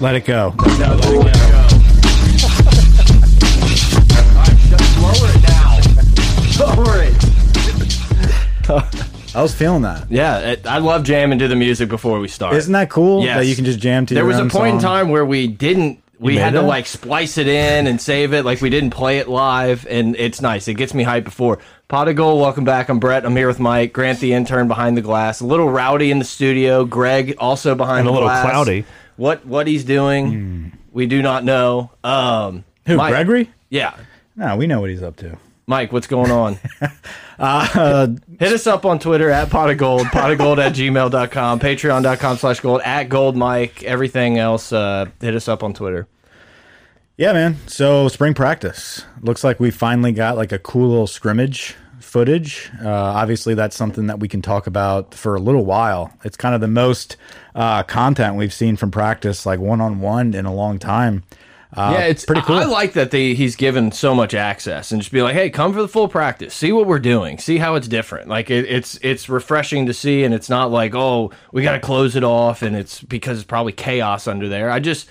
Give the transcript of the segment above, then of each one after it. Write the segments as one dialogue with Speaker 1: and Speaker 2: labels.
Speaker 1: Let it go.
Speaker 2: No, let it go. Lower it down. Lower it.
Speaker 3: I was feeling that.
Speaker 2: Yeah, it, I love jamming to the music before we start.
Speaker 3: Isn't that cool
Speaker 2: Yes.
Speaker 3: that you can just jam to
Speaker 2: There
Speaker 3: your
Speaker 2: was a
Speaker 3: own
Speaker 2: point in
Speaker 3: song?
Speaker 2: time where we didn't. We
Speaker 3: made
Speaker 2: had to
Speaker 3: it?
Speaker 2: like splice it in and save it. Like we didn't play it live, and it's nice. It gets me hyped before. Pot of Gold, welcome back. I'm Brett. I'm here with Mike Grant, the intern behind the glass. A little rowdy in the studio. Greg also behind
Speaker 1: And a
Speaker 2: the
Speaker 1: little
Speaker 2: glass.
Speaker 1: cloudy. Hmm.
Speaker 2: What what he's doing, we do not know. Um,
Speaker 3: Who,
Speaker 2: Mike-
Speaker 3: Gregory?
Speaker 2: Yeah,
Speaker 3: No, we know what he's up to.
Speaker 2: Mike, what's going on? Hit us up on Twitter at pot of gold, pot of gold at gmail.com, patreon.com slash gold, at gold Mike, everything else. Uh, hit us up on Twitter.
Speaker 3: Yeah, man. So spring practice looks like we finally got like a cool little scrimmage footage. Uh, obviously, that's something that we can talk about for a little while. It's kind of the most uh, content we've seen from practice, like one on one, in a long time. Uh,
Speaker 2: yeah, it's
Speaker 3: pretty cool.
Speaker 2: I, I like that they, he's given so much access and just be like, hey, come for the full practice, see what we're doing, see how it's different. Like it, it's it's refreshing to see, and it's not like oh we got to close it off, and it's because it's probably chaos under there. I just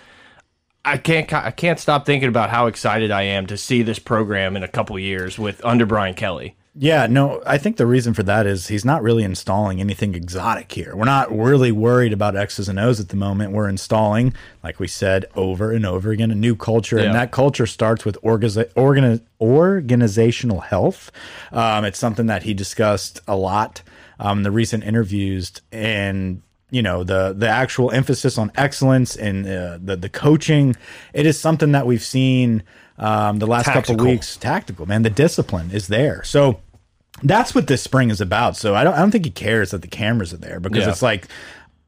Speaker 2: I can't I can't stop thinking about how excited I am to see this program in a couple years with under Brian Kelly.
Speaker 3: Yeah, no, I think the reason for that is he's not really installing anything exotic here. We're not really worried about X's and O's at the moment. We're installing, like we said over and over again, a new culture,
Speaker 2: Yeah.
Speaker 3: and that culture starts with organiza- organi- organizational health. Um, it's something that he discussed a lot um, in the recent interviews, and you know the the actual emphasis on excellence and uh, the the coaching. It is something that we've seen um, the last couple
Speaker 1: Tactical.
Speaker 3: weeks. Tactical, man, the discipline is there. So that's what this spring is about. So I don't I don't think he cares that the cameras are there because
Speaker 2: Yeah.
Speaker 3: it's like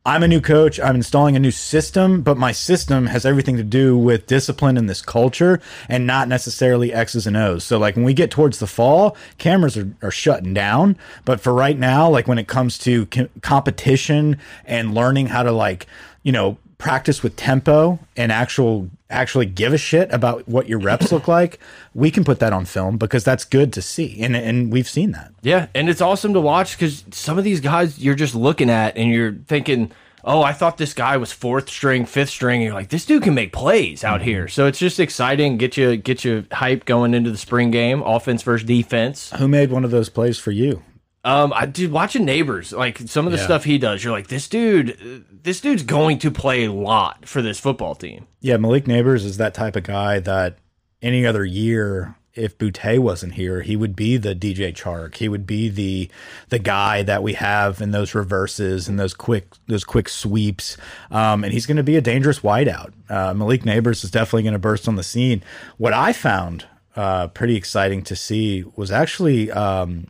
Speaker 3: I'm a new coach, I'm installing a new system, but my system has everything to do with discipline and this culture and not necessarily X's and O's. So like when we get towards the fall, cameras are, are shutting down. But for right now, like when it comes to co- competition and learning how to like, you know, practice with tempo and actual actually give a shit about what your reps look like, we can put that on film because that's good to see. And and we've seen that.
Speaker 2: Yeah, and it's awesome to watch because some of these guys you're just looking at and you're thinking, "Oh, I thought this guy was fourth string, fifth string." And you're like, "This dude can make plays out here." So it's just exciting. Get you get you hype going into the spring game, offense versus defense.
Speaker 3: Who made one of those plays for you?
Speaker 2: Um, I dude, watching neighbors, like some of the stuff he does, you're like, "This dude, uh, this dude's going to play a lot for this football team."
Speaker 3: Yeah, Malik Neighbors is that type of guy that any other year, if Boutte wasn't here, he would be the DJ Chark. He would be the the guy that we have in those reverses and those quick those quick sweeps. Um, and he's going to be a dangerous wideout. Uh, Malik Neighbors is definitely going to burst on the scene. What I found uh, pretty exciting to see was actually um,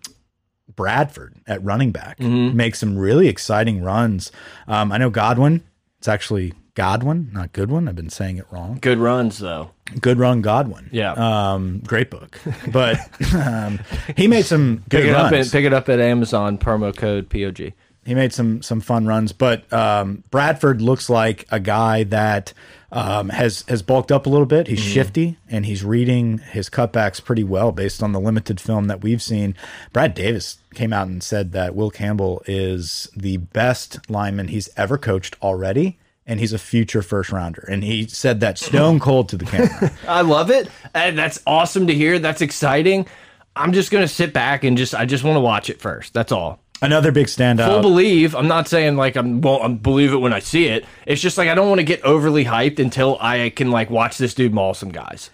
Speaker 3: Bradford at running back make some really exciting runs. Um, I know Godwin. It's actually Godwin, not Goodwin. I've been saying it wrong.
Speaker 2: Good runs though.
Speaker 3: Good run, Godwin.
Speaker 2: Yeah.
Speaker 3: Um, great book, but um, he made some good
Speaker 2: Pick it up
Speaker 3: runs.
Speaker 2: and pick it up at Amazon promo code POG.
Speaker 3: he made some some fun runs, but um, Bradford looks like a guy that um, has has bulked up a little bit. He's
Speaker 2: Mm.
Speaker 3: shifty and he's reading his cutbacks pretty well based on the limited film that we've seen. Brad Davis came out and said that Will Campbell is the best lineman he's ever coached already. And he's a future first rounder. And he said that stone cold to the camera.
Speaker 2: I love it. And that's awesome to hear. That's exciting. I'm just gonna sit back and just I just want to watch it first. That's all.
Speaker 3: Another big
Speaker 2: Full
Speaker 3: standout.
Speaker 2: believe. I'm not saying like I'm well, I believe it when I see it. It's just like I don't want to get overly hyped until I can like watch this dude maul some guys.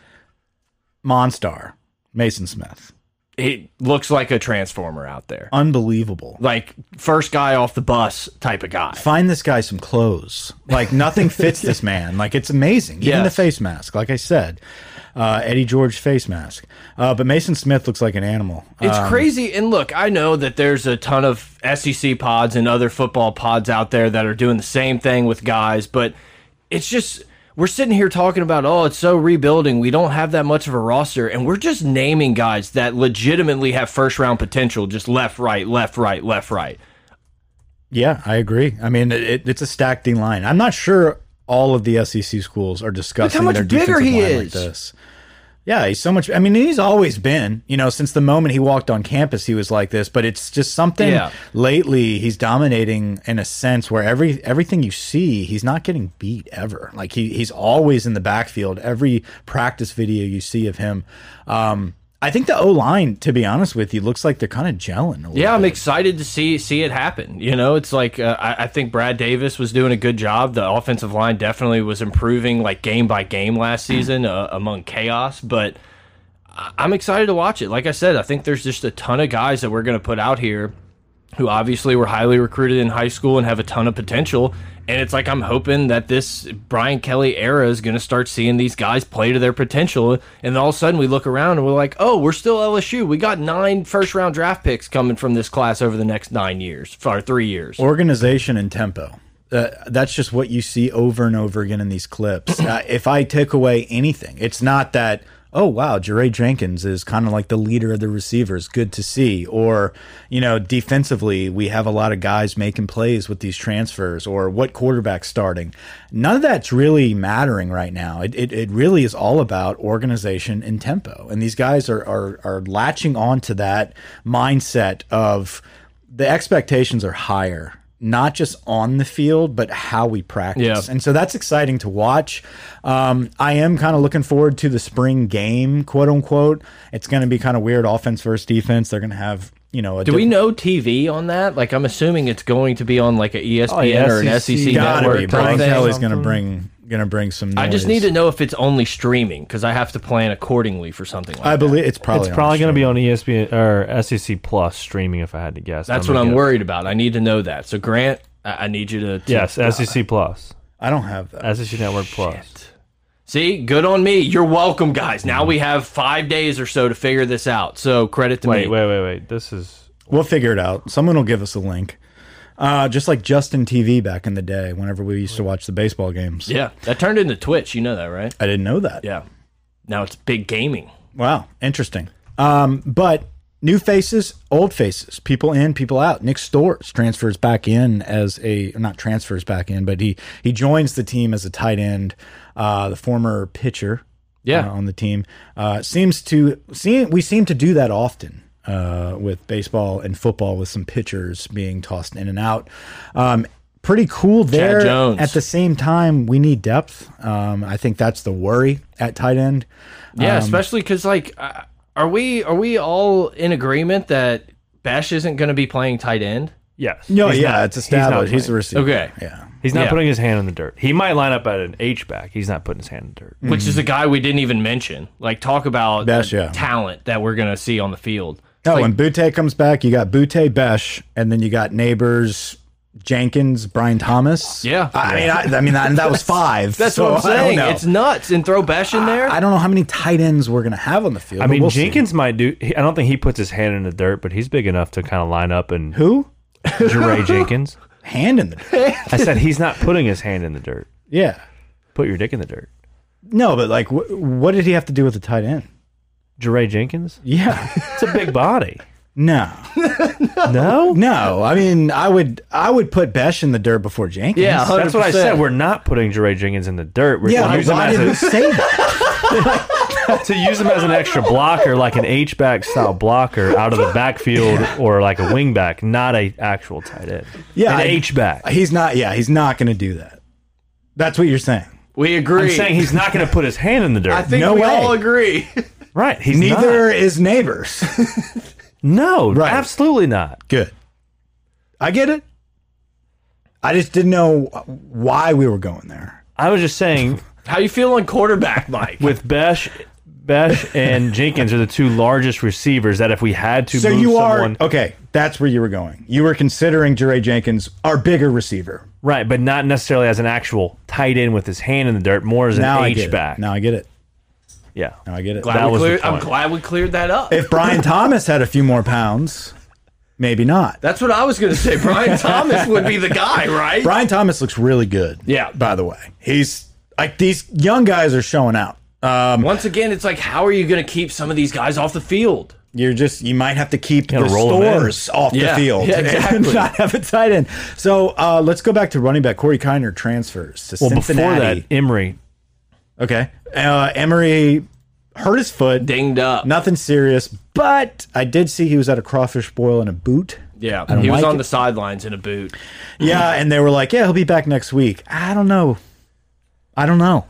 Speaker 3: Monstar, Mason Smith.
Speaker 2: It looks like a transformer out there.
Speaker 3: Unbelievable.
Speaker 2: Like first guy off the bus type of guy.
Speaker 3: find this guy some clothes. Like nothing fits this man. Like it's amazing. Even
Speaker 2: Yes.
Speaker 3: the face mask, like I said. uh, Eddie George face mask. Uh, but Mason Smith looks like an animal.
Speaker 2: It's crazy. And look, I know that there's a ton of SEC pods and other football pods out there that are doing the same thing with guys, but it's just we're sitting here talking about oh, it's so rebuilding. We don't have that much of a roster, and we're just naming guys that legitimately have first round potential, just left, right, left, right, left, right.
Speaker 3: yeah, I agree. I mean, it, it's a stacked D line. I'm not sure all of the SEC schools are discussing
Speaker 2: much
Speaker 3: their
Speaker 2: bigger
Speaker 3: defensive
Speaker 2: he
Speaker 3: line like
Speaker 2: is.
Speaker 3: this. Yeah, he's so much. I mean, he's always been, you know, since the moment he walked on campus, he was like this. But it's just something
Speaker 2: Yeah.
Speaker 3: lately. He's dominating in a sense where every everything you see, he's not getting beat ever. Like he he's always in the backfield. Every practice video you see of him, um, I think the O line, to be honest with you, looks like they're kind of gelling. A little
Speaker 2: Yeah,
Speaker 3: bit.
Speaker 2: I'm excited to see see it happen. You know, it's like uh, I, I think Brad Davis was doing a good job. The offensive line definitely was improving, like game by game last season uh, among chaos. But I- I'm excited to watch it. Like I said, I think there's just a ton of guys that we're going to put out here who obviously were highly recruited in high school and have a ton of potential. And it's like I'm hoping that this Brian Kelly era is going to start seeing these guys play to their potential. And then all of a sudden we look around and we're like, oh, we're still LSU. We got nine first round draft picks coming from this class over the next nine years, or three years.
Speaker 3: organization and tempo. Uh, that's just what you see over and over again in these clips. uh, if I take away anything, it's not that oh wow, Jeray Jenkins is kind of like the leader of the receivers. Good to see. Or you know, defensively, we have a lot of guys making plays with these transfers. Or what quarterback starting? None of that's really mattering right now. It it, it really is all about organization and tempo. And these guys are are are latching on to that mindset of the expectations are higher not just on the field but how we practice
Speaker 2: Yeah.
Speaker 3: and so that's exciting to watch um, i am kind of looking forward to the spring game quote unquote it's going to be kind of weird offense versus defense they're going to have you know a
Speaker 2: Do we know TV on that? Like, I'm assuming it's going to be on like E an ESPN
Speaker 3: Oh,
Speaker 2: or an
Speaker 4: SEC.
Speaker 2: SEC
Speaker 3: E gotta
Speaker 2: network.
Speaker 3: be
Speaker 2: type
Speaker 3: brian
Speaker 2: thing.
Speaker 3: kelly's going to bring going to bring some noise.
Speaker 2: I just need to know if it's only streaming because I have to plan accordingly for something like
Speaker 3: i
Speaker 2: that.
Speaker 3: believe it's probably
Speaker 4: It's probably going to be on E ESPN or SEC Plus streaming, if I had to guess.
Speaker 2: That's what
Speaker 4: gonna
Speaker 2: I'm
Speaker 4: guess.
Speaker 2: worried about. I need to know that. So Grant, I, I need you to, to-
Speaker 4: Yes, SEC Plus,
Speaker 3: i don't have that
Speaker 4: SEC Network Plus.
Speaker 2: see. Good on me. You're welcome, guys. Now we have five days or so to figure this out. So credit to me.
Speaker 4: Wait, wait, wait, wait. This is
Speaker 3: we'll figure it out someone will give us a link uh, just like justin tv back in the day whenever we used to watch the baseball games
Speaker 2: Yeah, that turned into Twitch. You know that, right?
Speaker 3: i didn't know that
Speaker 2: Yeah. Now it's big gaming.
Speaker 3: Wow, interesting. Um, but new faces, old faces, people in, people out. Nick Storrs transfers back in as a not transfers back in, but he he joins the team as a tight end, uh, the former pitcher
Speaker 2: Yeah.
Speaker 3: uh, on the team. Uh, seems to see we seem to do that often. Uh, with baseball and football, with some pitchers being tossed in and out, um, pretty cool there.
Speaker 2: Jones.
Speaker 3: At the same time, we need depth. Um, I think that's the worry at tight end.
Speaker 4: Um,
Speaker 2: Yeah, especially 'cause especially because like, uh, are we are we all in agreement that Bash isn't going to be playing tight end?
Speaker 4: yes.
Speaker 3: No,
Speaker 4: He's
Speaker 3: Oh, yeah,
Speaker 4: not-
Speaker 3: it's established. He's,
Speaker 4: He's
Speaker 3: a
Speaker 4: not, playing.
Speaker 3: receiver.
Speaker 2: Okay.
Speaker 3: Yeah.
Speaker 4: He's not
Speaker 2: Yeah.
Speaker 4: putting his hand in the dirt. He might line up at an H back. He's not putting his hand in the
Speaker 3: Mm,
Speaker 4: dirt.
Speaker 2: Which is a guy we didn't even mention. Like, talk about
Speaker 3: Bash,
Speaker 2: the
Speaker 3: yeah. Oh,
Speaker 2: talent that we're going to see on the field.
Speaker 3: No,
Speaker 2: Like-
Speaker 3: when Butte comes back, you got Butte Besh, and then you got neighbors Jenkins, Brian Thomas.
Speaker 2: Yeah.
Speaker 3: I mean, I, I mean, that, and that was five.
Speaker 2: That's
Speaker 3: so
Speaker 2: what I'm
Speaker 3: I don't
Speaker 2: saying.
Speaker 3: know.
Speaker 2: It's nuts. And throw Bash in there.
Speaker 3: I don't know how many tight ends we're gonna have on the field.
Speaker 4: I
Speaker 3: but
Speaker 4: mean,
Speaker 3: we'll see.
Speaker 4: Jenkins might do. he- I don't think he puts his hand in the dirt, but he's big enough to kind of line up and
Speaker 3: who
Speaker 4: Jeray Jenkins.
Speaker 3: hand in the dirt.
Speaker 4: I said he's not putting his hand in the dirt.
Speaker 3: yeah.
Speaker 4: Put your dick in the dirt.
Speaker 3: No, but like, wh what did he have to do with the tight end?
Speaker 4: Jeray Jenkins.
Speaker 3: Yeah.
Speaker 4: It's a big body.
Speaker 3: no.
Speaker 4: no,
Speaker 3: No. I mean, I would, I would put Besh in the dirt before Jenkins.
Speaker 2: Yeah,
Speaker 4: that's what I
Speaker 2: 100%.
Speaker 4: said. We're not putting Jeray Jenkins in the dirt. We're
Speaker 3: Yeah.
Speaker 4: gonna use him
Speaker 3: Why did we
Speaker 4: as
Speaker 3: say that?
Speaker 4: a, to use him as an extra blocker, like an H back style blocker out of the backfield or like a wing back, not a actual tight end.
Speaker 3: Yeah, I-
Speaker 4: an H back.
Speaker 3: He's not. Yeah, he's not going to do that. That's what you're saying.
Speaker 2: we agree.
Speaker 4: I'm saying he's not going to put his hand in the dirt.
Speaker 2: I think
Speaker 3: No
Speaker 2: we
Speaker 3: way.
Speaker 2: all agree.
Speaker 4: right. He's
Speaker 3: Neither
Speaker 4: not.
Speaker 3: is neighbors.
Speaker 4: No,
Speaker 3: Right.
Speaker 4: absolutely not.
Speaker 3: Good. I get it. I just didn't know why we were going there.
Speaker 4: I was just saying
Speaker 2: How you feeling, quarterback, Mike?
Speaker 4: with Besh, Besh and Jenkins are the two largest receivers that if we had to
Speaker 3: So
Speaker 4: move
Speaker 3: you
Speaker 4: someone,
Speaker 3: are okay. That's where you were going. You were considering Jeray Jenkins our bigger receiver.
Speaker 4: right, but not necessarily as an actual tight end with his hand in the dirt, more as an
Speaker 3: Now I get
Speaker 4: H
Speaker 3: it.
Speaker 4: back.
Speaker 3: Now I get it.
Speaker 4: Yeah.
Speaker 3: Now I get it.
Speaker 2: Glad
Speaker 4: That
Speaker 2: we
Speaker 4: was the
Speaker 2: cleared- I'm
Speaker 4: point.
Speaker 2: glad we cleared that up.
Speaker 3: If Brian Thomas had a few more pounds, maybe not.
Speaker 2: That's what I was going to say. Brian Thomas would be the guy, right?
Speaker 3: Brian Thomas looks really good.
Speaker 2: Yeah.
Speaker 3: By the way, he's like these young guys are showing out. Um,
Speaker 2: Once again, it's like, how are you going to keep some of these guys off the field?
Speaker 3: you're just you might have to keep the
Speaker 4: Gotta roll 'em in.
Speaker 3: stores off
Speaker 2: Yeah,
Speaker 3: the field
Speaker 2: yeah, exactly.
Speaker 3: and not have a tight end. So uh, let's go back to running back Corey Kiner transfers to
Speaker 4: Well,
Speaker 3: Cincinnati.
Speaker 4: before that, Emery.
Speaker 3: okay, uh, Emery hurt his foot,
Speaker 2: Dinged up.
Speaker 3: nothing serious, but I did see he was at a crawfish boil in a boot.
Speaker 2: yeah,
Speaker 3: don't
Speaker 2: he was
Speaker 3: like
Speaker 2: on
Speaker 3: it.
Speaker 2: the sidelines in a boot.
Speaker 3: Yeah, and they were like, "Yeah, he'll be back next week." I don't know. I don't know.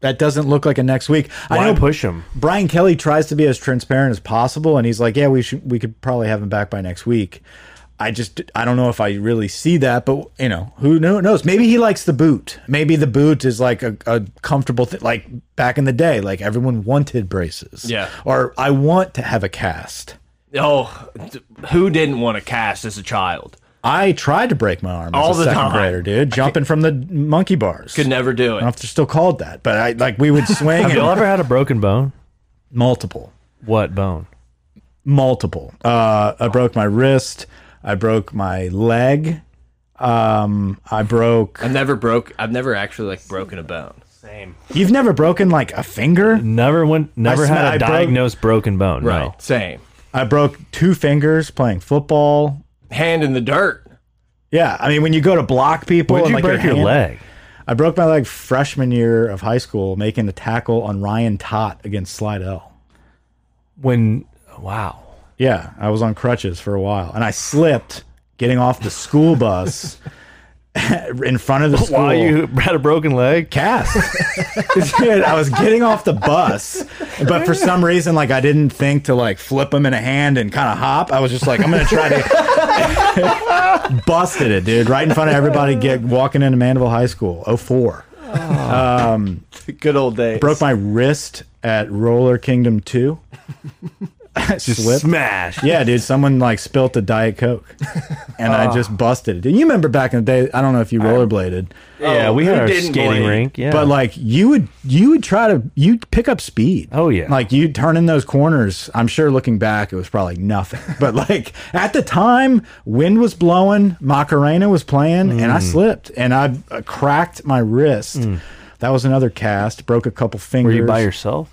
Speaker 3: That doesn't look like a next week. I
Speaker 4: Why
Speaker 3: know
Speaker 4: push him?
Speaker 3: Brian Kelly tries to be as transparent as possible, and he's like, "Yeah, we should. We could probably have him back by next week." I just I don't know if I really see that, but you know who kno- knows? Maybe he likes the boot. Maybe the boot is like a, a comfortable thing. Like back in the day, like everyone wanted braces.
Speaker 2: Yeah.
Speaker 3: Or I want to have a cast.
Speaker 2: Oh, d- who didn't want to cast as a child?
Speaker 3: I tried to break my arm
Speaker 2: All
Speaker 3: as a
Speaker 2: the
Speaker 3: second
Speaker 2: time.
Speaker 3: grader, dude, jumping from the monkey bars.
Speaker 2: Could never do
Speaker 3: I don't know
Speaker 2: it.
Speaker 3: if they're still called that, but I like we would swing
Speaker 4: Have y'all
Speaker 3: and
Speaker 4: ever had a broken bone?
Speaker 3: multiple.
Speaker 4: What bone?
Speaker 3: multiple. Uh, I broke my wrist. I broke my leg. Um, I broke.
Speaker 2: I've never broke. I've never actually like broken a bone.
Speaker 4: Same.
Speaker 3: You've never broken like a finger.
Speaker 4: Never went. Never
Speaker 3: sm-
Speaker 4: had a
Speaker 3: I broke-
Speaker 4: diagnosed broken bone. no.
Speaker 2: Same.
Speaker 3: I broke two fingers playing football.
Speaker 2: Hand in the dirt.
Speaker 3: Yeah, I mean when you go to block people,
Speaker 4: When
Speaker 3: and,
Speaker 4: did you
Speaker 3: like,
Speaker 4: break your
Speaker 3: hand-
Speaker 4: leg?
Speaker 3: I broke my leg freshman year of high school, making the tackle on Ryan Tott against Slide L.
Speaker 4: When? Wow.
Speaker 3: Yeah, I was on crutches for a while, and I slipped getting off the school bus in front of the school.
Speaker 4: Why you had a broken leg?
Speaker 3: cast. Dude, I was getting off the bus, but for some reason, like I didn't think to like flip him in a hand and kind of hop. I was just like, I'm gonna try to busted it, dude, right in front of everybody. Get walking into Mandeville High School, 04.
Speaker 2: Good old days.
Speaker 3: Broke my wrist at Roller Kingdom Two.
Speaker 4: Just
Speaker 3: Slip.
Speaker 4: smash.
Speaker 3: Yeah, dude, someone like spilt a Diet Coke, and I just busted it. Dude, you remember back in the day? I don't know if you rollerbladed.
Speaker 4: Yeah,
Speaker 2: Oh,
Speaker 4: we
Speaker 2: who
Speaker 4: had our
Speaker 2: didn't
Speaker 4: skating
Speaker 2: blade?
Speaker 4: rink. Yeah,
Speaker 3: But like you would you would try to you'd pick up speed.
Speaker 4: Oh, yeah.
Speaker 3: Like you'd turn in those corners. I'm sure looking back it was probably nothing. But like at the time, wind was blowing, Macarena was playing, and
Speaker 4: Mm.
Speaker 3: I slipped and I uh, cracked my wrist. That was another cast, broke a couple
Speaker 4: were
Speaker 3: fingers.
Speaker 4: you by yourself?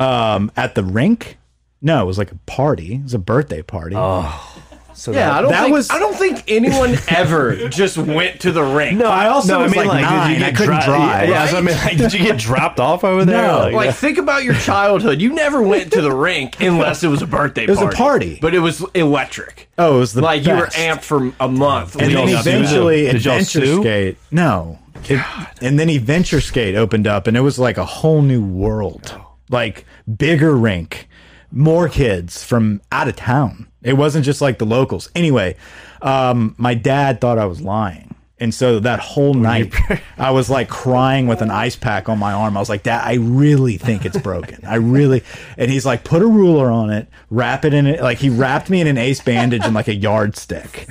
Speaker 3: um at the rink? No, it was like a party. It was a birthday party.
Speaker 4: Oh. So
Speaker 2: yeah, I don't.
Speaker 3: that
Speaker 2: think,
Speaker 3: was-
Speaker 2: I don't think anyone ever just went to the rink.
Speaker 4: No,
Speaker 3: I also was, like, nine. I couldn't
Speaker 4: dri-
Speaker 3: drive.
Speaker 4: Yeah, that's what I mean, like, did you get dropped off over there?
Speaker 3: No.
Speaker 4: Like,
Speaker 2: Like think about your childhood. You never went to the rink unless it was a birthday
Speaker 3: was
Speaker 2: party.
Speaker 3: a party.
Speaker 2: But it was electric.
Speaker 3: oh, it was the
Speaker 2: like you were
Speaker 3: best.
Speaker 2: amped for a month.
Speaker 3: and
Speaker 2: leading
Speaker 3: then
Speaker 4: y'all
Speaker 2: up to
Speaker 4: sue
Speaker 2: that.
Speaker 3: eventually
Speaker 4: them? Did y'all
Speaker 3: adventure
Speaker 4: sue?
Speaker 3: skate no It- and then adventure skate opened up and it was like a whole new world like bigger rink more kids from out of town it wasn't just like the locals anyway um, my dad thought i was lying and so that whole night, I was like crying with an ice pack on my arm. I was like, "Dad, I really think it's broken. I really." And he's like, "Put a ruler on it, wrap it in it." Like he wrapped me in an ace bandage and like a yardstick,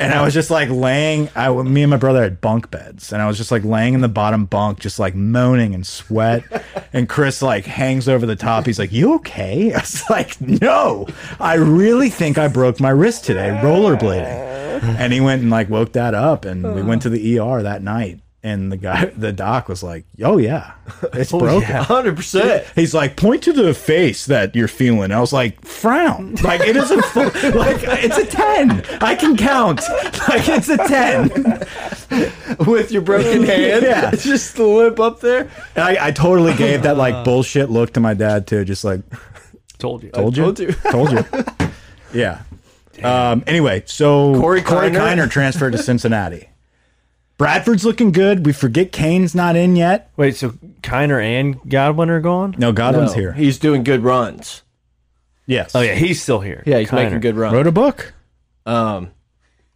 Speaker 3: and I was just like laying. I, me and my brother had bunk beds, and I was just like laying in the bottom bunk, just like moaning and sweat. And Chris like hangs over the top. He's like, "You okay?" I was like, "No, I really think I broke my wrist today rollerblading." and he went and like woke that up and we went to the ER that night and the guy the doc was like, "Oh yeah. It's broken."
Speaker 2: hundred percent.
Speaker 3: He's like, "Point to the face that you're feeling." I was like, "Frown." Like it is a fu- like it's a 10. I can count. Like it's a 10.
Speaker 2: With your broken hand,
Speaker 3: Yeah.
Speaker 2: just the lip up there.
Speaker 3: And I, I totally gave that like bullshit look to my dad too, just like,
Speaker 4: told you.
Speaker 3: "Told you."
Speaker 2: told you.
Speaker 3: Told you. Yeah. Um, anyway, so
Speaker 2: Corey
Speaker 3: Corey
Speaker 2: Kiner?
Speaker 3: Kiner transferred to Cincinnati. Bradford's looking good. We forget Kane's not in yet.
Speaker 4: Wait, so Kiner and Godwin are gone?
Speaker 3: No, Godwin's
Speaker 2: No,
Speaker 3: here.
Speaker 2: He's doing good runs.
Speaker 3: yes.
Speaker 4: Oh yeah, he's still here.
Speaker 2: Yeah, he's
Speaker 4: Kiner.
Speaker 2: making good runs.
Speaker 3: Wrote a book.
Speaker 2: Um,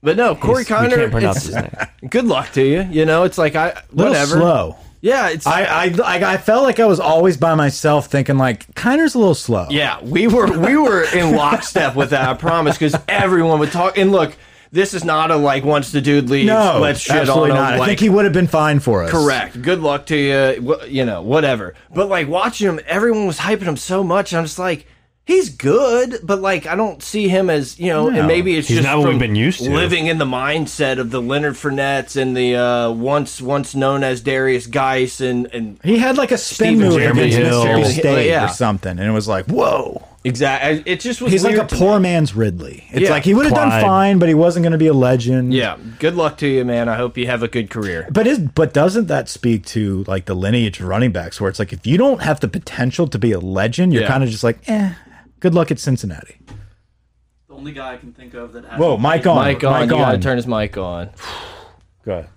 Speaker 2: but no, Corey
Speaker 4: We can't
Speaker 2: Connor.
Speaker 4: pronounce
Speaker 2: it's-
Speaker 4: his name.
Speaker 2: Good luck to you. You know, it's like I
Speaker 3: Little
Speaker 2: whatever.
Speaker 3: slow.
Speaker 2: Yeah, it's
Speaker 3: I, I I I felt like I was always by myself, thinking like Kiner's a little slow.
Speaker 2: yeah. We were we were in lockstep with that. I promise, because everyone would talk. And look, This is not a like once the dude leaves,
Speaker 3: No,
Speaker 2: let's shit
Speaker 3: absolutely
Speaker 2: on him.
Speaker 3: not. I
Speaker 2: like,
Speaker 3: think he would have been fine for us.
Speaker 2: Correct. Good luck to you. wh- You know, whatever. But like watching him, everyone was hyping him so much. I'm just like, he's good, but like I don't see him as you know. And maybe it's
Speaker 4: He's
Speaker 2: just
Speaker 4: not what we've
Speaker 2: from
Speaker 4: been used to.
Speaker 2: living in the mindset of the Leonard Fournettes and the uh, once once known as Darius Geis and and
Speaker 3: He had like a spin
Speaker 2: Stephen
Speaker 3: move
Speaker 2: Jeremy
Speaker 3: against
Speaker 4: Hill.
Speaker 3: Mississippi
Speaker 2: Jeremy Hill,
Speaker 3: State
Speaker 2: yeah.
Speaker 3: or something, and it was like, whoa.
Speaker 2: exactly. It just was
Speaker 3: He's like
Speaker 2: weird
Speaker 3: a
Speaker 2: to me.
Speaker 3: poor man's Ridley. It's
Speaker 2: Yeah.
Speaker 3: like he would have done
Speaker 4: Clyde.
Speaker 3: fine, but he wasn't going to be a legend.
Speaker 2: Yeah. Good luck to you, man. I hope you have a good career.
Speaker 3: But is but doesn't that speak to like the lineage of running backs, where it's like if you don't have the potential to be a legend, you're
Speaker 2: Yeah.
Speaker 3: kind of just like, eh. Good luck at Cincinnati.
Speaker 5: The only guy I can think of that.
Speaker 3: Whoa, mic on,
Speaker 2: Mic on.
Speaker 3: mic
Speaker 2: you gotta
Speaker 3: on.
Speaker 2: turn his mic on.
Speaker 3: Go ahead.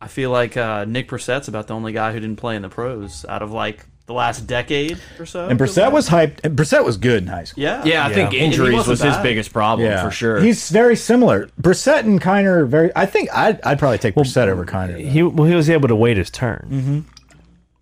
Speaker 5: I feel like uh, Nick Brissett's about the only guy who didn't play in the pros out of like the last decade or so.
Speaker 3: And Brissett was hyped. And Brissett was good in high school.
Speaker 5: Yeah.
Speaker 2: Yeah, I think
Speaker 5: And he
Speaker 2: injuries
Speaker 5: wasn't
Speaker 2: was his
Speaker 5: bad.
Speaker 2: biggest problem for sure.
Speaker 3: He's very similar. Brissett and Kiner are very. I think I'd, I'd probably take Brissett over Kiner. though.
Speaker 4: He well, he was able to wait his turn.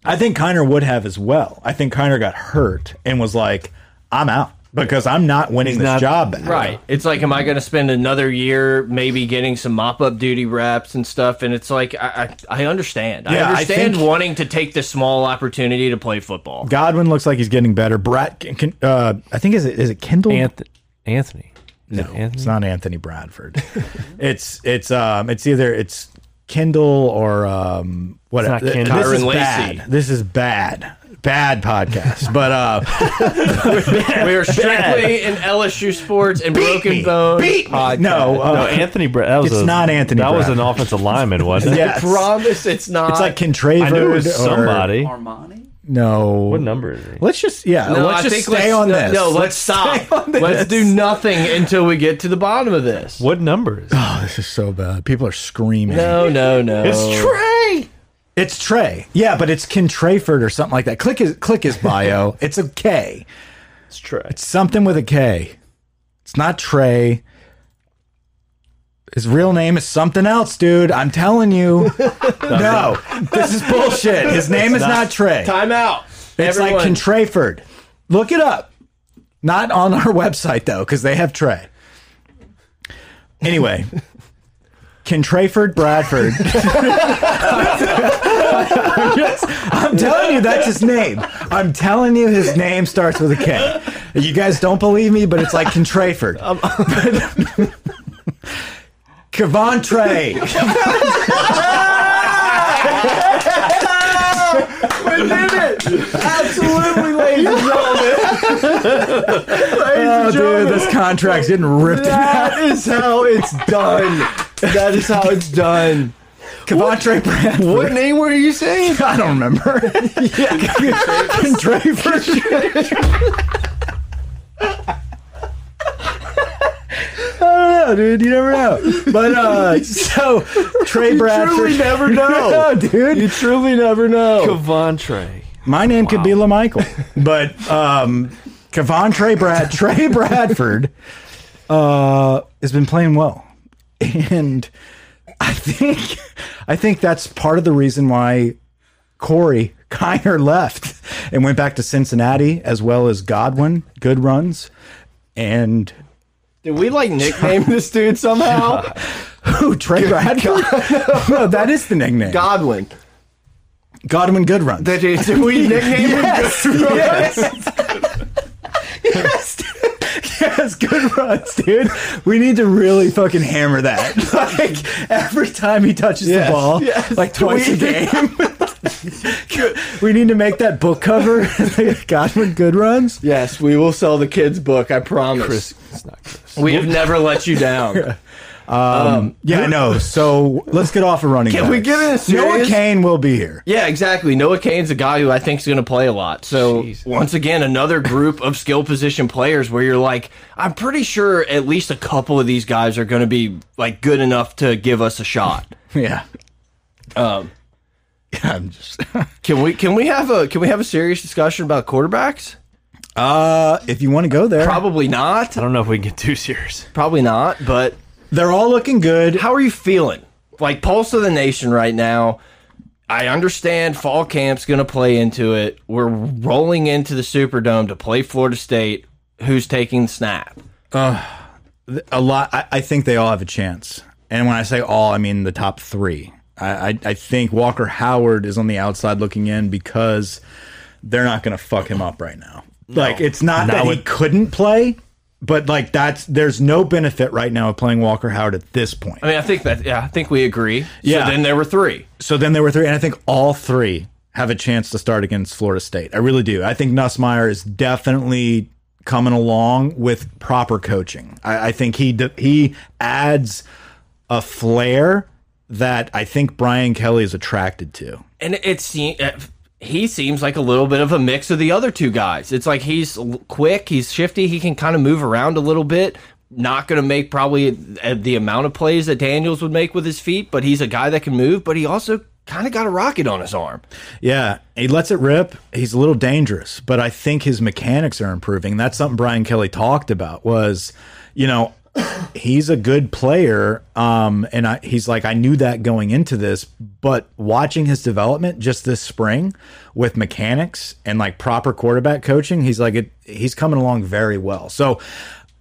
Speaker 3: I think Kiner would have as well. I think Kiner got hurt and was like, "I'm out because I'm not winning this
Speaker 4: not-
Speaker 3: job." Back.
Speaker 2: Right. It's like, am I going to spend another year maybe getting some mop up duty reps and stuff? And it's like, I, I, I understand.
Speaker 3: Yeah,
Speaker 2: I
Speaker 3: I
Speaker 2: understand
Speaker 3: think-
Speaker 2: wanting to take the small opportunity to play football.
Speaker 3: Godwin looks like he's getting better. Brad, can, can, uh, I think is it is it Kendall?
Speaker 4: Anthony, Anthony, Is
Speaker 3: No,
Speaker 4: it Anthony?
Speaker 3: it's not Anthony Bradford. it's it's um it's either it's Kendall or um whatever.
Speaker 4: not Kendall.
Speaker 3: This is
Speaker 2: Tyron Lacey.
Speaker 3: bad. This is bad. Bad podcast. but uh,
Speaker 2: We are strictly in LSU sports and broken
Speaker 3: me.
Speaker 2: bones.
Speaker 3: beat me.
Speaker 2: podcast.
Speaker 3: No, uh,
Speaker 4: no, Anthony. Bra that was
Speaker 3: It's
Speaker 4: a-
Speaker 3: not Anthony
Speaker 4: That was an
Speaker 3: Bradford.
Speaker 4: offensive lineman, wasn't it?
Speaker 2: I
Speaker 3: yes.
Speaker 2: promise it's not.
Speaker 3: It's like Contraver.
Speaker 4: I knew it was
Speaker 3: or-
Speaker 4: somebody.
Speaker 5: Armani.
Speaker 3: No.
Speaker 4: What number is he?
Speaker 3: Let's just yeah.
Speaker 2: No,
Speaker 3: let's
Speaker 2: I
Speaker 3: just
Speaker 2: think
Speaker 3: stay
Speaker 2: let's-
Speaker 3: on
Speaker 2: no,
Speaker 3: this.
Speaker 2: No, let's, stop.
Speaker 3: stay on this.
Speaker 2: Let's do nothing until we get to the bottom of this.
Speaker 4: What number is? He?
Speaker 3: Oh, this is so bad. People are screaming.
Speaker 2: No, no, no.
Speaker 4: Oh.
Speaker 3: Trey. It's Trey. Yeah, but it's Contraford or something like that. Click his click his bio. it's a K.
Speaker 4: It's Trey.
Speaker 3: Something with a K. It's not Trey. His real name is something else, dude. I'm telling you. no, this is bullshit. His name is not Trey.
Speaker 2: Time out.
Speaker 3: It's like
Speaker 2: Everyone.
Speaker 3: Contraford. Look it up. Not on our website though, because they have Trey. Anyway, Contraford Bradford. Yes, I'm telling you that's his name. I'm telling you his name starts with a K. You guys don't believe me, but it's like Contraford. Cavantre.
Speaker 2: Absolutely, ladies and gentlemen.
Speaker 3: Oh, dude, this contract's getting ripped.
Speaker 2: That is how it's done. That is how it's done.
Speaker 3: Cavantre Bradford.
Speaker 2: What name were you saying?
Speaker 3: I don't remember. yeah, Draper. I don't know, dude. You never know. But uh, so Trey Bradford.
Speaker 2: never
Speaker 3: no, dude.
Speaker 2: truly never know.
Speaker 4: Cavantre.
Speaker 3: My name could be Lamichael, but um, Kevon Trey Brad Trey Bradford uh, has been playing well, and I think I think that's part of the reason why Corey Kiner left and went back to Cincinnati, as well as Godwin. Good runs, and
Speaker 2: Did we like nickname this dude somehow?
Speaker 3: who Trey Bradford? no, that is the nickname.
Speaker 2: Godwin.
Speaker 3: Godwin Good runs.
Speaker 2: Did we nickname him?
Speaker 3: yes, yes. yes. Yes, good runs, dude. We need to really fucking hammer that. Like every time he touches
Speaker 2: Yes,
Speaker 3: the ball,
Speaker 2: yes.
Speaker 3: like twice a game. we need to make that book cover. Godwin good runs.
Speaker 2: Yes, we will sell the kids' book. I promise.
Speaker 4: It's not Chris.
Speaker 2: We have never let you down. Um,
Speaker 3: Yeah, I know. So let's get off of running.
Speaker 2: Can we
Speaker 3: backs.
Speaker 2: get in a
Speaker 3: Noah
Speaker 2: serious-
Speaker 3: Kane will be here.
Speaker 2: Yeah, exactly. Noah Kane's a guy who I think is going to play a lot. So once again, another group of skill position players where you're like, I'm pretty sure at least a couple of these guys are going to be like good enough to give us a shot.
Speaker 3: Yeah. Um. I'm just.
Speaker 2: Can we can we have a can we have a serious discussion about quarterbacks?
Speaker 3: Uh, if you want to go there,
Speaker 2: Probably not.
Speaker 4: I don't know if we can get too serious.
Speaker 2: Probably not. But
Speaker 3: they're all looking good.
Speaker 2: how are you feeling? Like pulse of the nation right now. I understand fall camp's going to play into it. We're rolling into the Superdome to play Florida State. Who's taking the snap?
Speaker 3: th- a lot. I, I think they all have a chance, and when I say all, I mean the top three. I, I, I think Walker Howard is on the outside looking in because they're not going to fuck him up right now. Like it's not that he couldn't play, but like that's there's no benefit right now of playing Walker Howard at this point.
Speaker 2: I mean, I think that yeah, I think we agree.
Speaker 3: Yeah.
Speaker 2: So then there were three.
Speaker 3: So then there were three, and I think all three have a chance to start against Florida State. I really do. I think Nussmeyer is definitely coming along with proper coaching. I, I think he d- he adds a flair that I think Brian Kelly is attracted to.
Speaker 2: and it seems he seems like a little bit of a mix of the other two guys. It's like he's l- quick, he's shifty, he can kind of move around a little bit. Not going to make probably uh, the amount of plays that Daniels would make with his feet, but he's a guy that can move. But he also kind of got a rocket on his arm.
Speaker 3: Yeah, he lets it rip. He's a little dangerous, but I think his mechanics are improving. That's something Brian Kelly talked about was, you know, he's a good player um and I, he's like I knew that going into this, but watching his development just this spring with mechanics and like proper quarterback coaching, he's like it, he's coming along very well. So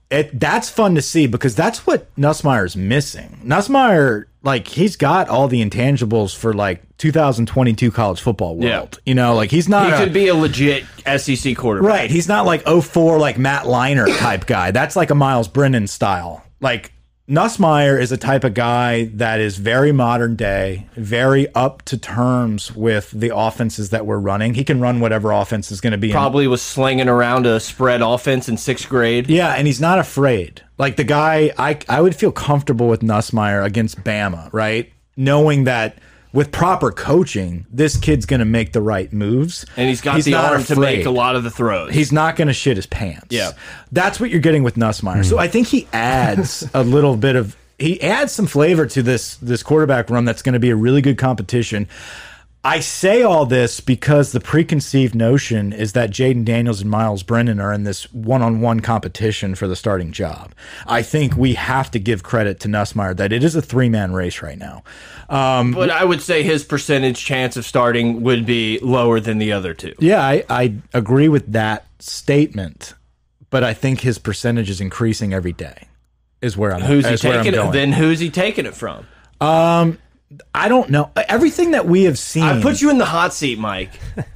Speaker 3: it, that's fun to see because that's what Nussmeier's missing. Nussmeier, like, he's got all the intangibles for like 2022 college football world.
Speaker 2: Yeah.
Speaker 3: You know, like he's not
Speaker 2: He
Speaker 3: a-
Speaker 2: could be a legit SEC quarterback.
Speaker 3: right. He's not like 04 like Matt Leiner type guy. That's like a Miles Brennan style. Like Nussmeier is a type of guy that is very modern day, very up to terms with the offenses that we're running. He can run whatever offense is going to be in
Speaker 2: Probably was slinging around a spread offense in sixth grade.
Speaker 3: Yeah, and he's not afraid. Like the guy, I I would feel comfortable with Nussmeyer against Bama, right? Knowing that with proper coaching, this kid's going to make the right moves,
Speaker 2: And he's got the
Speaker 3: not
Speaker 2: arm to
Speaker 3: afraid.
Speaker 2: make a lot of the throws.
Speaker 3: He's not going to shit his pants.
Speaker 2: Yeah.
Speaker 3: that's what you're getting with Nussmeyer. So I think he adds a little bit of he adds some flavor to this this quarterback run that's going to be a really good competition. I say all this because the preconceived notion is that Jaden Daniels and Miles Brennan are in this one on one competition for the starting job. I think we have to give credit to Nussmeyer that it is a three man race right now. Um,
Speaker 2: but I would say his percentage chance of starting would be lower than the other two.
Speaker 3: Yeah, I, I agree with that statement, but I think his percentage is increasing every day. Is where I'm.
Speaker 2: Who's he
Speaker 3: is where I'm
Speaker 2: taking it?
Speaker 3: going.
Speaker 2: Then who's he taking it from?
Speaker 3: I don't know. Everything that we have seen,
Speaker 2: I put you in the hot seat, Mike.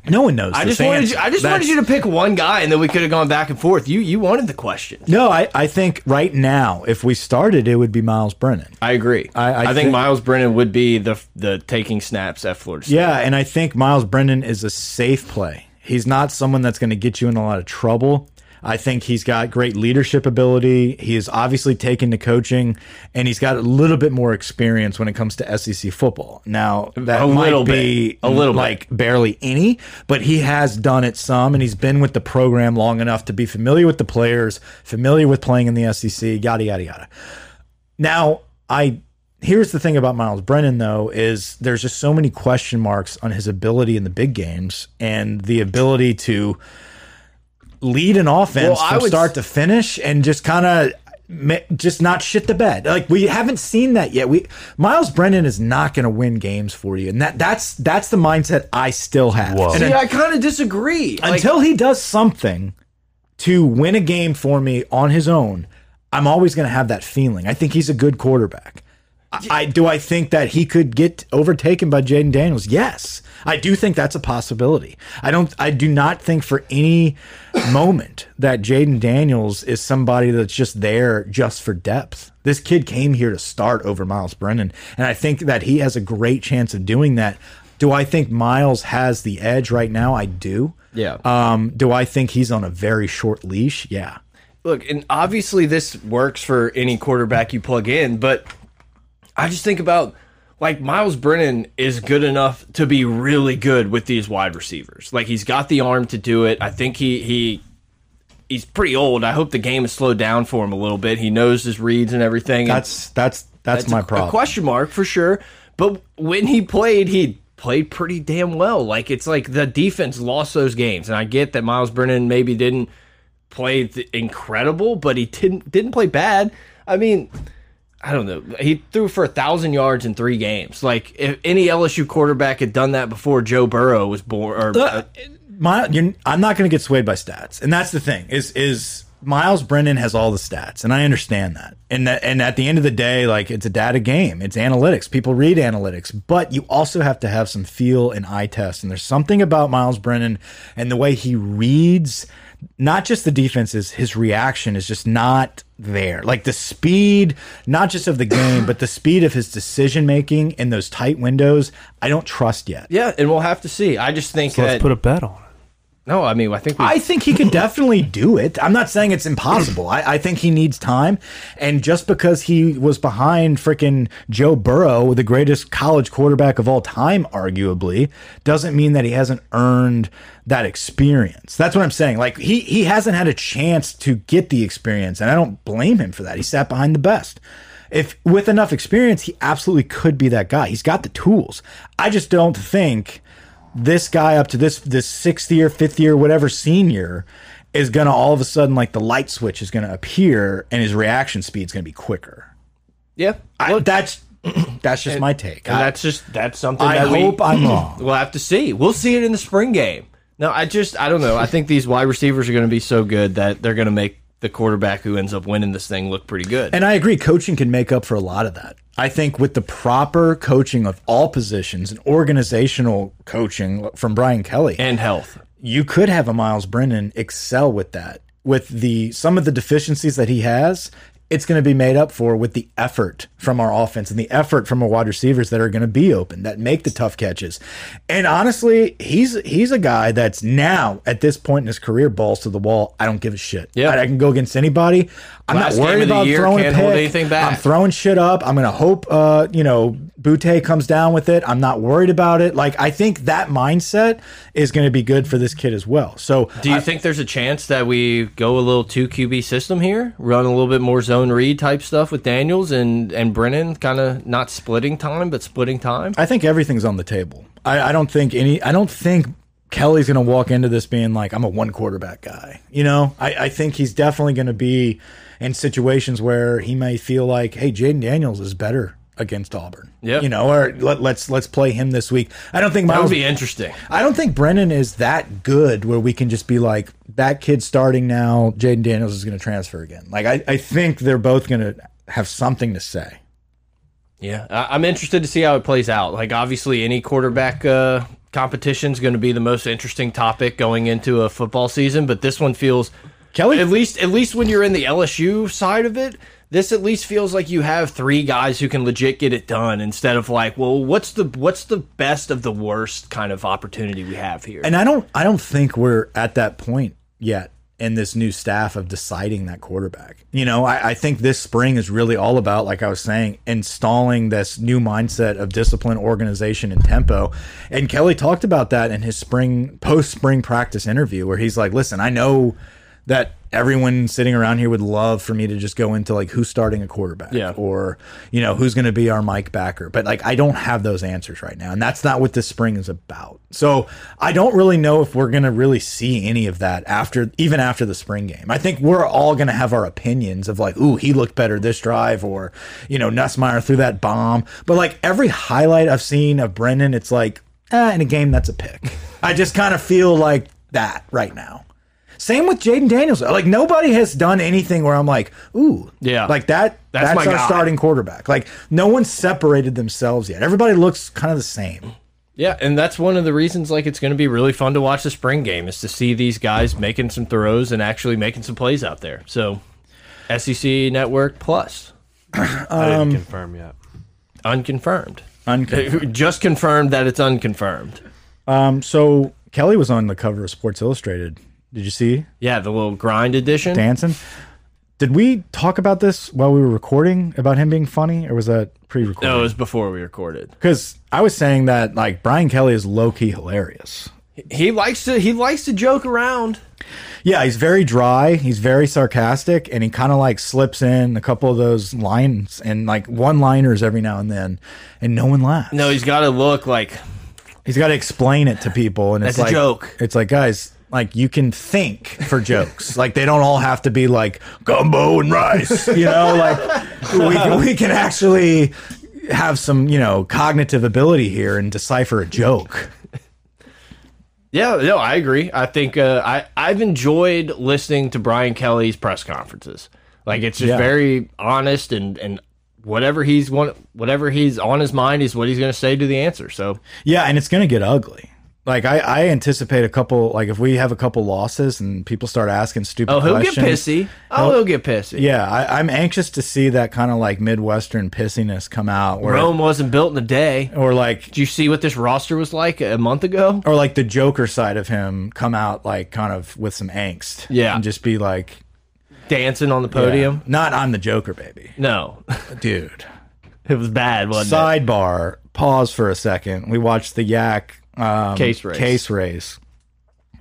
Speaker 3: no one knows.
Speaker 2: I
Speaker 3: this
Speaker 2: Hmm. just wanted
Speaker 3: answer.
Speaker 2: you, I just
Speaker 3: That's-
Speaker 2: wanted you to pick one guy, and then we could have gone back and forth. You you wanted the question.
Speaker 3: No, I, I think right now, if we started, it would be Miles Brennan.
Speaker 2: I agree.
Speaker 3: I- I
Speaker 2: think,
Speaker 3: think-
Speaker 2: Miles Brennan would be the the taking snaps at Florida State.
Speaker 3: Yeah, and I think Miles Brennan is a safe play. He's not someone that's going to get you in a lot of trouble. I think he's got great leadership ability. He is obviously taken to coaching, and he's got a little bit more experience when it comes to SEC football. Now that
Speaker 2: A
Speaker 3: might
Speaker 2: little bit.
Speaker 3: be
Speaker 2: A little bit.
Speaker 3: like barely any, but he has done it some, and he's been with the program long enough to be familiar with the players, familiar with playing in the SEC, yada yada yada. Now, I here's the thing about Miles Brennan though is there's just so many question marks on his ability in the big games and the ability to lead an offense
Speaker 2: Well, I
Speaker 3: from
Speaker 2: would-
Speaker 3: start to finish and just kind of just not shit the bed. Like we haven't seen that yet. We Miles Brennan is not going to win games for you, and that that's that's the mindset I still have.
Speaker 4: Whoa.
Speaker 3: And
Speaker 2: See, I kind of disagree. Like,
Speaker 3: until he does something to win a game for me on his own, I'm always going to have that feeling. I think he's a good quarterback. I, I do. I think that he could get overtaken by Jaden Daniels. Yes, I do think that's a possibility. I don't. I do not think for any moment that Jaden Daniels is somebody that's just there just for depth. This kid came here to start over Miles Brennan, and I think that he has a great chance of doing that. Do I think Miles has the edge right now? I do.
Speaker 2: Yeah.
Speaker 3: Um, do I think he's on a very short leash? Yeah.
Speaker 2: look, and obviously this works for any quarterback you plug in, but I just think about like Miles Brennan is good enough to be really good with these wide receivers. Like he's got the arm to do it. I think he he he's pretty old. I hope the game has slowed down for him a little bit. He knows his reads and everything. and-
Speaker 3: That's that's that's,
Speaker 2: a-
Speaker 3: my
Speaker 2: A
Speaker 3: problem.
Speaker 2: question mark for sure. But when he played, he played pretty damn well. Like it's like the defense lost those games, and I get that Miles Brennan maybe didn't play th incredible, but he didn't didn't play bad. I mean. I don't know. He threw for a thousand yards in three games. Like if any LSU quarterback had done that before Joe Burrow was born, or
Speaker 3: Uh,
Speaker 2: uh,
Speaker 3: my, you're, I'm not going to get swayed by stats, and that's the thing. Is is Miles Brennan has all the stats, and I understand that. And that, and at the end of the day, like it's a data game. It's analytics. People read analytics, but you also have to have some feel and eye test. And there's something about Miles Brennan and the way he reads, not just the defenses. His reaction is just not there. Like the speed, not just of the game, but the speed of his decision making in those tight windows. I don't trust yet.
Speaker 2: Yeah, and we'll have to see. I just think
Speaker 4: So
Speaker 2: that
Speaker 4: let's put a bet on it.
Speaker 2: no. I mean, I think we,
Speaker 3: I think he could definitely do it. I'm not saying it's impossible. I, I think he needs time. And just because he was behind freaking Joe Burrow, the greatest college quarterback of all time, arguably, doesn't mean that he hasn't earned that experience. That's what I'm saying. Like he he hasn't had a chance to get the experience, and I don't blame him for that. He sat behind the best. If with enough experience, he absolutely could be that guy. He's got the tools. I just don't think this guy up to this this sixth year, fifth year, whatever senior is gonna all of a sudden like the light switch is gonna appear and his reaction speed's gonna be quicker.
Speaker 2: yeah.
Speaker 3: I, that's that's just my take.
Speaker 2: And
Speaker 3: I,
Speaker 2: that's just that's something.
Speaker 3: I
Speaker 2: that we-
Speaker 3: hope I'm wrong.
Speaker 2: We'll have to see. We'll see it in the spring game. No, I just I don't know. I think these wide receivers are going to be so good that they're going to make the quarterback who ends up winning this thing look pretty good.
Speaker 3: And I agree, coaching can make up for a lot of that. I think with the proper coaching of all positions and organizational coaching from Brian Kelly,
Speaker 2: and health.
Speaker 3: you could have a Miles Brennan excel with that. With the some of the deficiencies that he has, it's going to be made up for with the effort from our offense and the effort from our wide receivers that are going to be open that make the tough catches. And honestly, he's he's a guy that's now at this point in his career balls to the wall. I don't give a shit.
Speaker 2: Yeah.
Speaker 3: I, I can go against anybody. I'm
Speaker 2: Last
Speaker 3: not
Speaker 2: game
Speaker 3: worried
Speaker 2: of the
Speaker 3: about
Speaker 2: year,
Speaker 3: throwing a
Speaker 2: can't
Speaker 3: pick.
Speaker 2: hold anything back.
Speaker 3: I'm throwing shit up. I'm gonna hope uh, you know Butte comes down with it. I'm not worried about it. Like I think that mindset is gonna be good for this kid as well. So
Speaker 2: Do you think there's a chance that we go a little two QB system here, run a little bit more zone read type stuff with Daniels and and Brennan, kind of not splitting time but splitting time?
Speaker 3: I think everything's on the table. I, I don't think any. I don't think Kelly's going to walk into this being like I'm a one quarterback guy. You know, I, I think he's definitely going to be in situations where he may feel like, hey, Jaden Daniels is better against Auburn.
Speaker 2: Yep.
Speaker 3: you know, or let, let's let's play him this week. I don't think
Speaker 2: That
Speaker 3: Miles.
Speaker 2: would be interesting.
Speaker 3: I don't think Brennan is that good where we can just be like, that kid's starting now. Jaden Daniels is going to transfer again. Like, I, I think they're both going to have something to say.
Speaker 2: Yeah, I I'm interested to see how it plays out. Like, obviously, any quarterback uh, competition is going to be the most interesting topic going into a football season. But this one feels,
Speaker 3: Kelly-
Speaker 2: at least at least when you're in the LSU side of it, this at least feels like you have three guys who can legit get it done instead of like, well, what's the what's the best of the worst kind of opportunity we have here?
Speaker 3: And I don't, I don't think we're at that point yet in this new staff of deciding that quarterback. You know, I, I think this spring is really all about, like I was saying, installing this new mindset of discipline, organization, and tempo. And Kelly talked about that in his spring, post spring practice interview, where he's like, "Listen, I know." that everyone sitting around here would love for me to just go into like who's starting a quarterback
Speaker 2: Yeah.
Speaker 3: or you know who's going to be our Mike backer but like I don't have those answers right now and that's not what this spring is about so I don't really know if we're going to really see any of that after even after the spring game I think we're all going to have our opinions of like ooh he looked better this drive or you know Nussmeyer threw that bomb but like every highlight I've seen of Brendan it's like eh, in a game that's a pick I just kind of feel like that right now same with Jaden Daniels. Like nobody has done anything where I'm like, ooh,
Speaker 2: Yeah.
Speaker 3: like that.
Speaker 2: That's
Speaker 3: That's,
Speaker 2: my
Speaker 3: our
Speaker 2: guy.
Speaker 3: starting quarterback. Like no one separated themselves yet. Everybody looks kind of the same.
Speaker 2: Yeah, and that's one of the reasons like it's going to be really fun to watch the spring game is to see these guys making some throws and actually making some plays out there. So, SEC Network Plus
Speaker 4: I
Speaker 3: Um,
Speaker 4: didn't confirm yet.
Speaker 2: unconfirmed.
Speaker 3: Unconfirmed.
Speaker 2: Just confirmed that it's unconfirmed.
Speaker 3: Um, so Kelly was on the cover of Sports Illustrated. Did you see
Speaker 2: Yeah, the little grind edition.
Speaker 3: dancing? Did we talk about this while we were recording about him being funny, or was that pre-recorded?
Speaker 2: No, it was before we recorded.
Speaker 3: Because I was saying that like Brian Kelly is low key hilarious.
Speaker 2: He likes to he likes to joke around.
Speaker 3: Yeah, he's very dry. He's very sarcastic, and he kind of like slips in a couple of those lines and like one liners every now and then, and no one laughs.
Speaker 2: No, he's got to look like
Speaker 3: he's got to explain it to people, and
Speaker 2: That's
Speaker 3: it's
Speaker 2: a
Speaker 3: like
Speaker 2: joke.
Speaker 3: It's like guys, like you can think for jokes. like they don't all have to be like gumbo and rice. You know, like we we can actually have some you know cognitive ability here and decipher a joke.
Speaker 2: Yeah, no, I agree. I think uh, I I've enjoyed listening to Brian Kelly's press conferences. Like it's just very honest and and whatever he's want, whatever he's on his mind is what he's going to say to the answer. So
Speaker 3: Yeah, and it's going to get ugly. Like I, I anticipate a couple. Like if we have a couple losses and people start asking stupid.
Speaker 2: oh, he'll
Speaker 3: questions,
Speaker 2: get pissy. Oh, he'll get pissy.
Speaker 3: Yeah, I, I'm anxious to see that kind of like midwestern pissiness come out, where,
Speaker 2: Rome wasn't built in a day.
Speaker 3: or like,
Speaker 2: Do you see what this roster was like a month ago?
Speaker 3: or like the Joker side of him come out like kind of with some angst.
Speaker 2: Yeah.
Speaker 3: and just be like,
Speaker 2: Dancing on the
Speaker 3: yeah,
Speaker 2: podium.
Speaker 3: Not I'm the Joker, baby,
Speaker 2: No,
Speaker 3: dude.
Speaker 2: it was bad, wasn't it?
Speaker 3: Sidebar. Pause for a second. We watched the Yak um,
Speaker 2: Case race.
Speaker 3: Case race.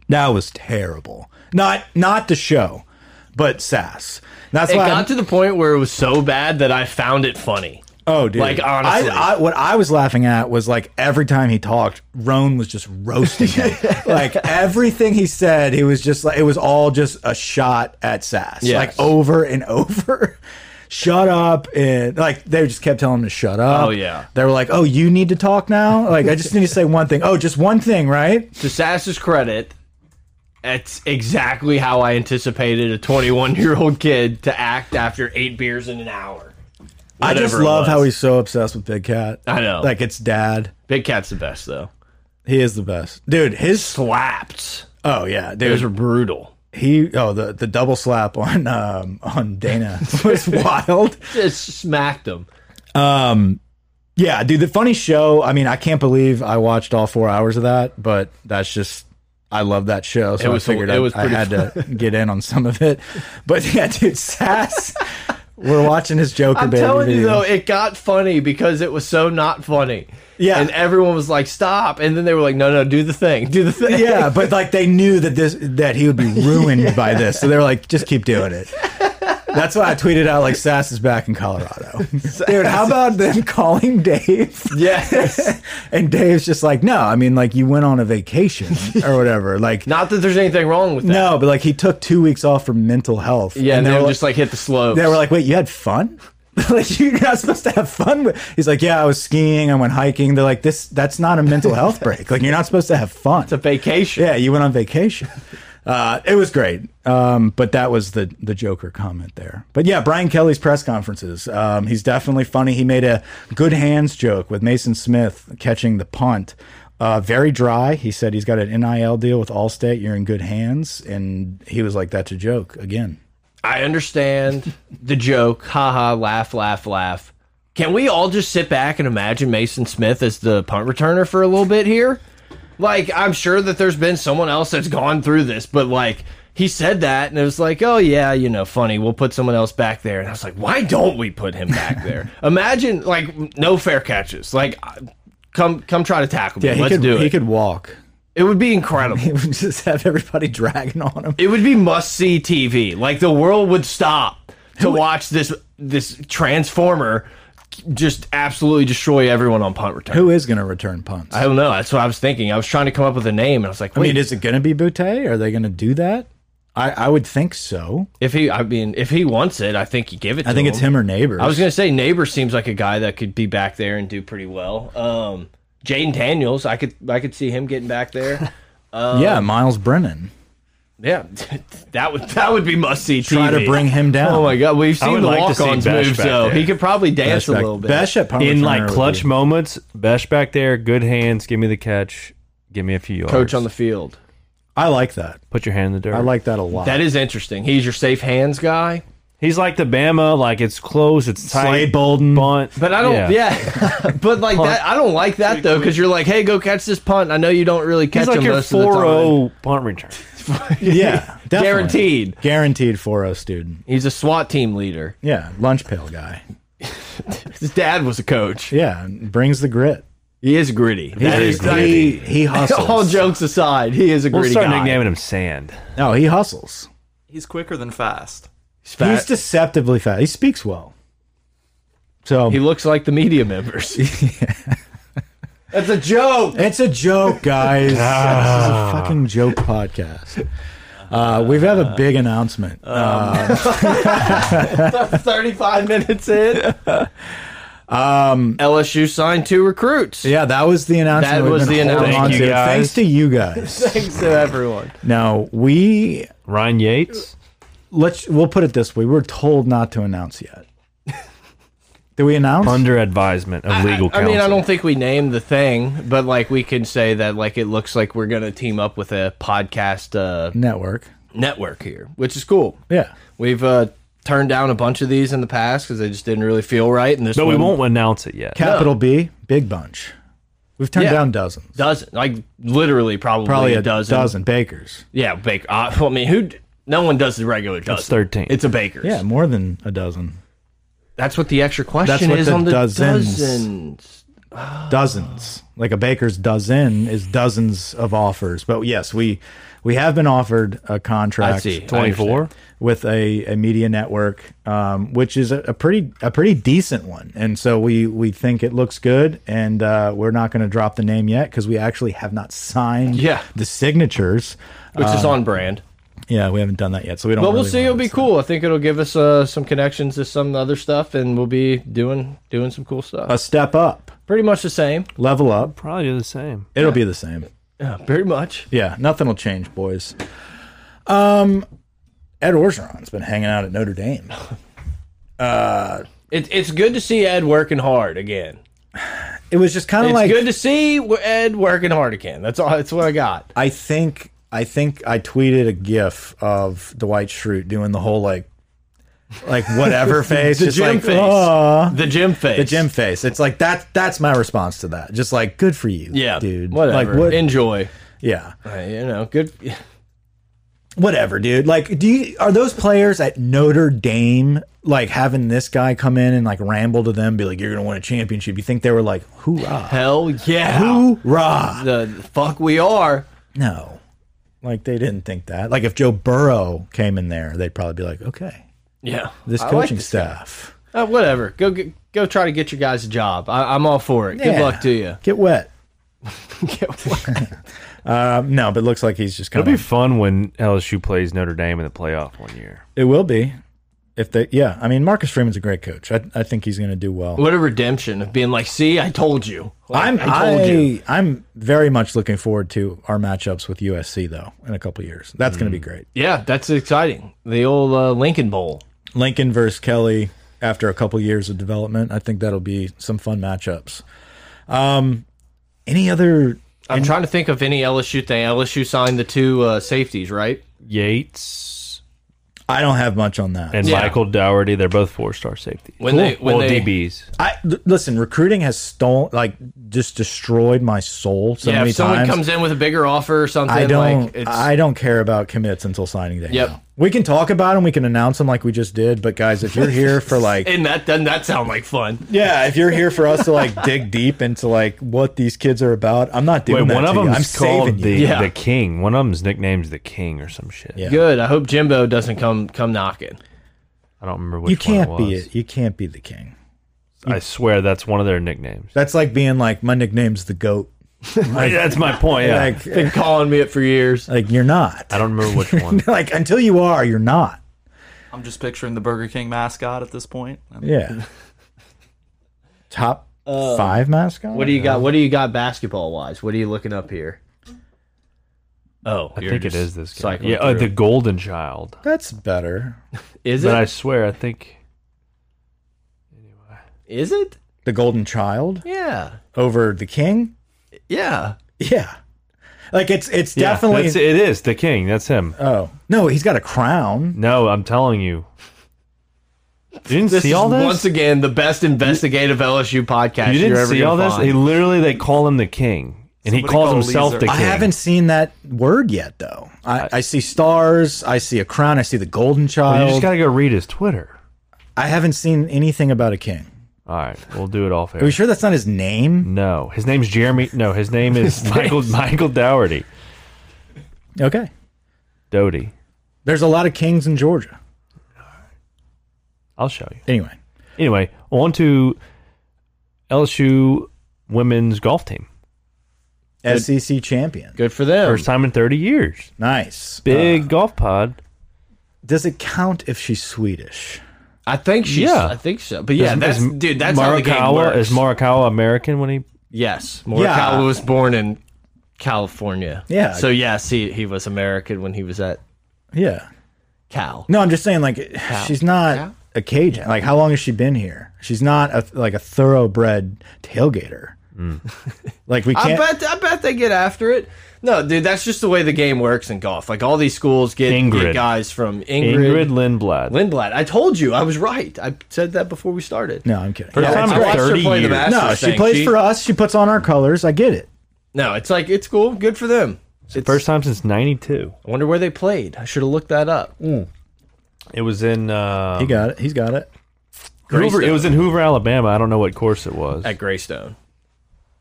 Speaker 3: That was terrible. Not not the show, but Sass. That's
Speaker 2: It
Speaker 3: why. I'm-
Speaker 2: got to the point where it was so bad that I found it funny.
Speaker 3: oh, dude.
Speaker 2: like, honestly.
Speaker 3: I, I, what I was laughing at was like every time he talked, Roan was just roasting him. like everything he said, he was just like it was all just a shot at Sass.
Speaker 2: Yes.
Speaker 3: Like over and over. Shut up and like they just kept telling him to shut up.
Speaker 2: Oh, yeah.
Speaker 3: They were like, "Oh, you need to talk now." Like, I just need to say one thing. Oh, just one thing, right?
Speaker 2: to Sass's credit, it's exactly how I anticipated a 21 year old kid to act after eight beers in an hour.
Speaker 3: I just
Speaker 2: Whatever it
Speaker 3: love
Speaker 2: was.
Speaker 3: how he's so obsessed with Big Cat.
Speaker 2: I know.
Speaker 3: Like it's dad.
Speaker 2: Big Cat's the best though.
Speaker 3: He is the best. Dude, his
Speaker 2: Slapped.
Speaker 3: Oh yeah, dude.
Speaker 2: Those were brutal.
Speaker 3: He oh the the double slap on um on Dana was wild. Um,
Speaker 2: Just smacked them.
Speaker 3: Yeah, dude, the funny show. I mean, I can't believe I watched all 4 hours of that, but that's just I love that show, so
Speaker 2: It was-
Speaker 3: I figured
Speaker 2: it
Speaker 3: I,
Speaker 2: was
Speaker 3: I
Speaker 2: pretty
Speaker 3: had to get in on some of it. But yeah, dude, Sass, we're watching his Joker
Speaker 2: I'm
Speaker 3: baby.
Speaker 2: telling you
Speaker 3: video.
Speaker 2: though, it got funny because it was so not funny.
Speaker 3: Yeah.
Speaker 2: And everyone was like, stop. And then they were like, no, no, do the thing. Do the thing.
Speaker 3: yeah, but like they knew that this that he would be ruined by this, so they were like, just keep doing it. That's why I tweeted out like Sass is back in Colorado, dude. How about them calling Dave?
Speaker 2: Yes.
Speaker 3: and Dave's just like, no, I mean like you went on a vacation or whatever. Like
Speaker 2: not that there's anything wrong with that.
Speaker 3: no, but like he took two weeks off for mental health.
Speaker 2: Yeah, and,
Speaker 3: they
Speaker 2: they
Speaker 3: were
Speaker 2: were just like hit the slopes.
Speaker 3: they were like, wait, you had fun? like you're not supposed to have fun with. He's like, yeah, I was skiing, I went hiking. They're like, this that's not a mental health break. Like you're not supposed to have fun.
Speaker 2: it's a vacation.
Speaker 3: Yeah, you went on vacation. Uh, it was great, um, but that was the the Joker comment there. But yeah, Brian Kelly's press conferences. Um, he's definitely funny. He made a good hands joke with Mason Smith catching the punt. Uh, very dry. He said he's got an NIL deal with Allstate. You're in good hands, and he was like, "That's a joke again."
Speaker 2: I understand the joke. Haha, laugh, laugh, laugh. Can we all just sit back and imagine Mason Smith as the punt returner for a little bit here? Like, I'm sure that there's been someone else that's gone through this, but like, he said that and it was like, oh, yeah, you know, funny. We'll put someone else back there. And I was like, why don't we put him back there? imagine, like, no fair catches. Like, come come try to tackle me.
Speaker 3: Yeah, he
Speaker 2: Let's
Speaker 3: could
Speaker 2: do
Speaker 3: he
Speaker 2: it.
Speaker 3: could walk.
Speaker 2: It would be incredible.
Speaker 3: He would just have everybody dragging on him.
Speaker 2: It would be must see TV. Like the world would stop to watch this this transformer just absolutely destroy everyone on punt return.
Speaker 3: Who is going to return punts?
Speaker 2: I don't know. That's what I was thinking. I was trying to come up with a name, and I was like,
Speaker 3: I
Speaker 2: wait,
Speaker 3: mean, is it going to be Boutte? Are they going to do that? I, I would think so.
Speaker 2: if he, I mean, if he wants it, I think you give it. to
Speaker 3: I think it's him or neighbors.
Speaker 2: I was gonna say neighbor seems like a guy that could be back there and do pretty well. Um, Jaden Daniels, I could, I could see him getting back there.
Speaker 3: yeah, Miles Brennan.
Speaker 2: yeah, that would that would be must see TV.
Speaker 3: Try to bring him down.
Speaker 2: Oh my god, we've
Speaker 4: I
Speaker 2: seen
Speaker 4: would
Speaker 2: the
Speaker 4: like to see
Speaker 2: walk-ons
Speaker 4: Bash
Speaker 2: move
Speaker 4: back
Speaker 2: though.
Speaker 4: there.
Speaker 2: He could probably dance
Speaker 3: Besh
Speaker 2: a
Speaker 3: back-
Speaker 2: little bit.
Speaker 3: Besh at punt
Speaker 4: in
Speaker 3: returner
Speaker 4: like
Speaker 3: would
Speaker 4: clutch
Speaker 3: be-
Speaker 4: moments, Besh back there, good hands, give me the catch, give me a few yards.
Speaker 2: coach on the field.
Speaker 3: I like that.
Speaker 4: put your hand in the dirt.
Speaker 3: I like that a lot.
Speaker 2: That is interesting. He's your safe hands guy,
Speaker 4: He's like the Bama, like it's close, it's tight.
Speaker 3: Slade Bolden.
Speaker 4: bunt,
Speaker 2: but I don't.
Speaker 4: Yeah.
Speaker 2: Yeah, but like that, I don't like that though because you're like, hey, go catch this punt. I know you don't really catch
Speaker 4: He's like
Speaker 2: him
Speaker 4: your
Speaker 2: most of the time.
Speaker 4: 4-0 punt return.
Speaker 3: yeah, definitely.
Speaker 2: Guaranteed.
Speaker 3: Guaranteed 4-0 student.
Speaker 2: He's a SWAT team leader.
Speaker 3: Yeah, lunch pail guy.
Speaker 2: His dad was a coach.
Speaker 3: Yeah, brings the grit.
Speaker 2: He is gritty. That
Speaker 4: is
Speaker 2: is
Speaker 3: He he hustles.
Speaker 2: All jokes aside, he is a
Speaker 4: We'll
Speaker 2: gritty
Speaker 4: start
Speaker 2: guy.
Speaker 4: nicknaming him Sand.
Speaker 3: No, he hustles.
Speaker 5: He's quicker than fast.
Speaker 2: He's fat.
Speaker 3: He's deceptively fast. He speaks well. So
Speaker 2: he looks like the media members. That's a joke.
Speaker 3: It's a joke, guys. this is
Speaker 2: Ah.
Speaker 3: a fucking joke podcast. Uh, we have a big announcement. Uh,
Speaker 2: 35 minutes in.
Speaker 3: Um,
Speaker 2: LSU signed two recruits.
Speaker 3: yeah, that was the announcement.
Speaker 2: That
Speaker 3: we've
Speaker 2: was
Speaker 3: been
Speaker 2: the
Speaker 3: holding
Speaker 2: announcement.
Speaker 3: on
Speaker 4: Thank you,
Speaker 3: to.
Speaker 4: guys.
Speaker 3: Thanks to you guys.
Speaker 2: Thanks to everyone.
Speaker 3: now we
Speaker 4: Ryan Yates.
Speaker 3: let's we'll put it this way: we were told not to announce yet. Did we announce?
Speaker 4: Under advisement of legal
Speaker 2: I
Speaker 4: counsel.
Speaker 2: mean, I don't think we named the thing, but like we can say that like it looks like we're gonna team up with a podcast uh,
Speaker 3: network.
Speaker 2: network here, which is cool.
Speaker 3: Yeah.
Speaker 2: We've uh, turned down a bunch of these in the past because they just didn't really feel right, and this
Speaker 4: But we
Speaker 2: one
Speaker 4: won't announce it yet.
Speaker 3: Capital B, big bunch. We've turned
Speaker 2: Yeah.
Speaker 3: down dozens.
Speaker 2: doesn't like literally probably,
Speaker 3: Probably
Speaker 2: a dozen.
Speaker 3: bakers.
Speaker 2: Yeah, baker. Uh, well, I mean, who? d- No one does the regular dozen.
Speaker 4: 13.
Speaker 2: It's a baker's.
Speaker 3: Yeah, more than a dozen.
Speaker 2: That's what the extra question
Speaker 3: what
Speaker 2: is
Speaker 3: the
Speaker 2: on the
Speaker 3: dozens.
Speaker 2: dozens.
Speaker 3: Dozens. Like a baker's dozen is dozens of offers. But yes, we we have been offered a contract
Speaker 2: I see.
Speaker 4: Twenty four.
Speaker 3: with a, a media network, um, which is a, a pretty a pretty decent one. And so we we think it looks good, and uh, we're not going to drop the name yet because we actually have not signed
Speaker 2: Yeah.
Speaker 3: the signatures.
Speaker 2: Which is on brand.
Speaker 3: Yeah, we haven't done that yet, so we don't.
Speaker 2: But we'll
Speaker 3: really
Speaker 2: see.
Speaker 3: wanna
Speaker 2: It'll be cool. I think it'll give us uh, some connections to some other stuff, and we'll be doing doing some cool stuff.
Speaker 3: A step up,
Speaker 2: pretty much the same.
Speaker 3: level up.
Speaker 4: Probably do the same.
Speaker 3: It'll be the same.
Speaker 2: Yeah, pretty much.
Speaker 3: Yeah, nothing will change, boys. Um, Ed Orgeron's been hanging out at Notre Dame.
Speaker 2: It, it's good to see Ed working hard again.
Speaker 3: It was just kind of
Speaker 2: It's
Speaker 3: like
Speaker 2: good to see Ed working hard again. That's all. That's what I got.
Speaker 3: I think I think I tweeted a GIF of Dwight Schrute doing the whole like like whatever face, the just
Speaker 2: gym
Speaker 3: like
Speaker 2: face.
Speaker 3: "Aw."
Speaker 2: The gym face.
Speaker 3: the gym face. It's like that. That's my response to that. Just like good for you,
Speaker 2: Yeah,
Speaker 3: dude.
Speaker 2: Whatever.
Speaker 3: Like what?
Speaker 2: Enjoy.
Speaker 3: yeah,
Speaker 2: Uh, you know, good.
Speaker 3: whatever, dude. Like, do you are those players at Notre Dame like having this guy come in and like ramble to them, be like, "You're gonna win a championship"? You think they were like, "Hoorah,
Speaker 2: Hell yeah.
Speaker 3: hoorah"?
Speaker 2: The the fuck we are.
Speaker 3: No. Like they didn't think that. Like if Joe Burrow came in there, they'd probably be like, "Okay,
Speaker 2: Yeah.
Speaker 3: this
Speaker 2: I like
Speaker 3: coaching
Speaker 2: this
Speaker 3: staff,
Speaker 2: Uh, whatever. Go get, go try to get your guys a job. I, I'm all for it. Good
Speaker 3: Yeah.
Speaker 2: luck to you.
Speaker 3: Get wet." Um, no, but it looks like he's just
Speaker 4: It'll
Speaker 3: kind of.
Speaker 4: be fun when LSU plays Notre Dame in the playoff one year.
Speaker 3: It will be, if they. Yeah, I mean, Marcus Freeman's a great coach. I, I think he's going to do well.
Speaker 2: what a redemption of being like, see, I told you. Like,
Speaker 3: I'm
Speaker 2: I told you.
Speaker 3: I, am very much looking forward to our matchups with USC though in a couple years. That's going to
Speaker 2: Mm.
Speaker 3: be great.
Speaker 2: Yeah, that's exciting. The old uh, Lincoln Bowl.
Speaker 3: Lincoln versus Kelly after a couple years of development. I think that'll be some fun matchups. Um, any other?
Speaker 2: I'm trying to think of any LSU thing. LSU signed the two uh, safeties, right?
Speaker 4: Yates
Speaker 3: I don't have much on that.
Speaker 4: and
Speaker 2: Yeah.
Speaker 4: Michael Dougherty, they're both four star safety.
Speaker 2: When they- when
Speaker 4: well,
Speaker 2: they-
Speaker 4: DBs.
Speaker 3: I th- listen. Recruiting has stolen, like, just destroyed my soul so
Speaker 2: yeah,
Speaker 3: many
Speaker 2: if someone
Speaker 3: times.
Speaker 2: comes in with a bigger offer or something,
Speaker 3: I don't.
Speaker 2: like it's
Speaker 3: I don't care about commits until signing day.
Speaker 2: Yep.
Speaker 3: now. We can talk about them. We can announce them like we just did. But guys, if you're here for like
Speaker 2: and that doesn't that sound like fun?
Speaker 3: Yeah, if you're here for us to like dig deep into like what these kids are about, I'm not doing
Speaker 4: Wait,
Speaker 3: that.
Speaker 4: one of
Speaker 3: to you. I'm
Speaker 4: them's
Speaker 3: saving
Speaker 4: called the,
Speaker 3: you.
Speaker 2: Yeah.
Speaker 4: the King. One of them's nicknamed the King or some shit.
Speaker 3: Yeah.
Speaker 2: Good. I hope Jimbo doesn't come come knocking.
Speaker 4: I don't remember which
Speaker 3: You can't
Speaker 4: one it
Speaker 3: be
Speaker 4: was.
Speaker 3: it. You can't be the king.
Speaker 4: I swear that's one of their nicknames.
Speaker 3: That's like being like my nickname's the goat.
Speaker 4: Right, that's my point. Yeah.
Speaker 3: Like
Speaker 2: Been calling me it for years.
Speaker 3: like you're not.
Speaker 4: I don't remember which one.
Speaker 3: Like until you are, you're not.
Speaker 5: I'm just picturing the Burger King mascot at this point. I'm-
Speaker 3: Yeah. Uh, Top five mascot.
Speaker 2: What do you got? What do you got basketball wise? What are you looking up here? Oh,
Speaker 4: I think it is this guy.
Speaker 2: cycling
Speaker 4: Yeah, uh,
Speaker 2: through.
Speaker 4: the Golden Child.
Speaker 3: That's better.
Speaker 2: Is it?
Speaker 4: But I swear, I think
Speaker 2: Is it?
Speaker 3: The golden child
Speaker 2: Yeah.
Speaker 3: over the king.
Speaker 2: Yeah.
Speaker 3: Yeah. Like it's it's
Speaker 4: Yeah,
Speaker 3: definitely.
Speaker 4: that's, it is the King. That's him.
Speaker 3: Oh no, he's got a crown.
Speaker 4: No, I'm telling you. You didn't
Speaker 2: This
Speaker 4: see
Speaker 2: is
Speaker 4: all this.
Speaker 2: once again the best investigative LSU podcast are
Speaker 4: you didn't
Speaker 2: ever
Speaker 4: see
Speaker 2: gonna
Speaker 4: all this.
Speaker 2: find.
Speaker 4: He literally they call him the King, and he
Speaker 5: Somebody
Speaker 4: calls
Speaker 5: call
Speaker 4: himself
Speaker 5: Leezer.
Speaker 4: the King.
Speaker 3: I haven't seen that word yet, though. I, I see stars. I see a crown. I see the golden
Speaker 4: You
Speaker 3: child.
Speaker 4: just gotta go read his Twitter.
Speaker 3: I haven't seen anything about a king.
Speaker 4: All right, we'll do it all
Speaker 3: Are
Speaker 4: fair.
Speaker 3: you sure that's not his name?
Speaker 4: No, his name's Jeremy. No, his name is Michael Michael Dougherty.
Speaker 3: Okay.
Speaker 4: Doty.
Speaker 3: There's a lot of kings in Georgia.
Speaker 4: I'll show you.
Speaker 3: Anyway,
Speaker 4: Anyway, on to LSU women's golf team.
Speaker 3: SEC E champion.
Speaker 2: Good for them.
Speaker 4: First time in 30 years.
Speaker 3: Nice. Uh,
Speaker 4: Big golf pod.
Speaker 3: does it count if she's Swedish?
Speaker 2: I think she's.
Speaker 4: Yeah.
Speaker 2: I think so. But yeah, that's dude. That's how the game
Speaker 4: Morikawa
Speaker 2: works.
Speaker 4: is Morikawa American when he
Speaker 2: yes, Morikawa was born in California.
Speaker 3: Yeah.
Speaker 2: So yes, he he was American when he was at
Speaker 3: Yeah.
Speaker 2: Cal.
Speaker 3: No, I'm just saying, like, she's not
Speaker 2: Cow?
Speaker 3: a Cajun. Like, how long has she been here? She's not a, like a thoroughbred tailgater. like, we
Speaker 2: I
Speaker 3: can't.
Speaker 2: bet I bet they get after it. No, dude, that's just the way the game works in golf. Like all these schools get,
Speaker 4: Ingrid.
Speaker 2: get guys from Ingrid,
Speaker 4: Ingrid Lindblad.
Speaker 2: Lindblad. I told you, I was right. I said that before we started.
Speaker 3: no, I'm kidding.
Speaker 4: First
Speaker 3: Yeah,
Speaker 4: time
Speaker 3: it's
Speaker 2: I
Speaker 4: in
Speaker 3: great.
Speaker 2: watched her
Speaker 4: 30
Speaker 2: play the
Speaker 4: years.
Speaker 2: Masters
Speaker 3: no, she
Speaker 2: thing.
Speaker 3: plays for us. She puts on our colors. I get it.
Speaker 2: No, it's like it's cool. Good for them. It's,
Speaker 4: First time since '92.
Speaker 2: I wonder where they played. I should have looked that up.
Speaker 4: It was in uh,
Speaker 3: He got it. He's got it.
Speaker 4: Hoover. It was in Hoover, Alabama. I don't know what course it was.
Speaker 2: At Greystone.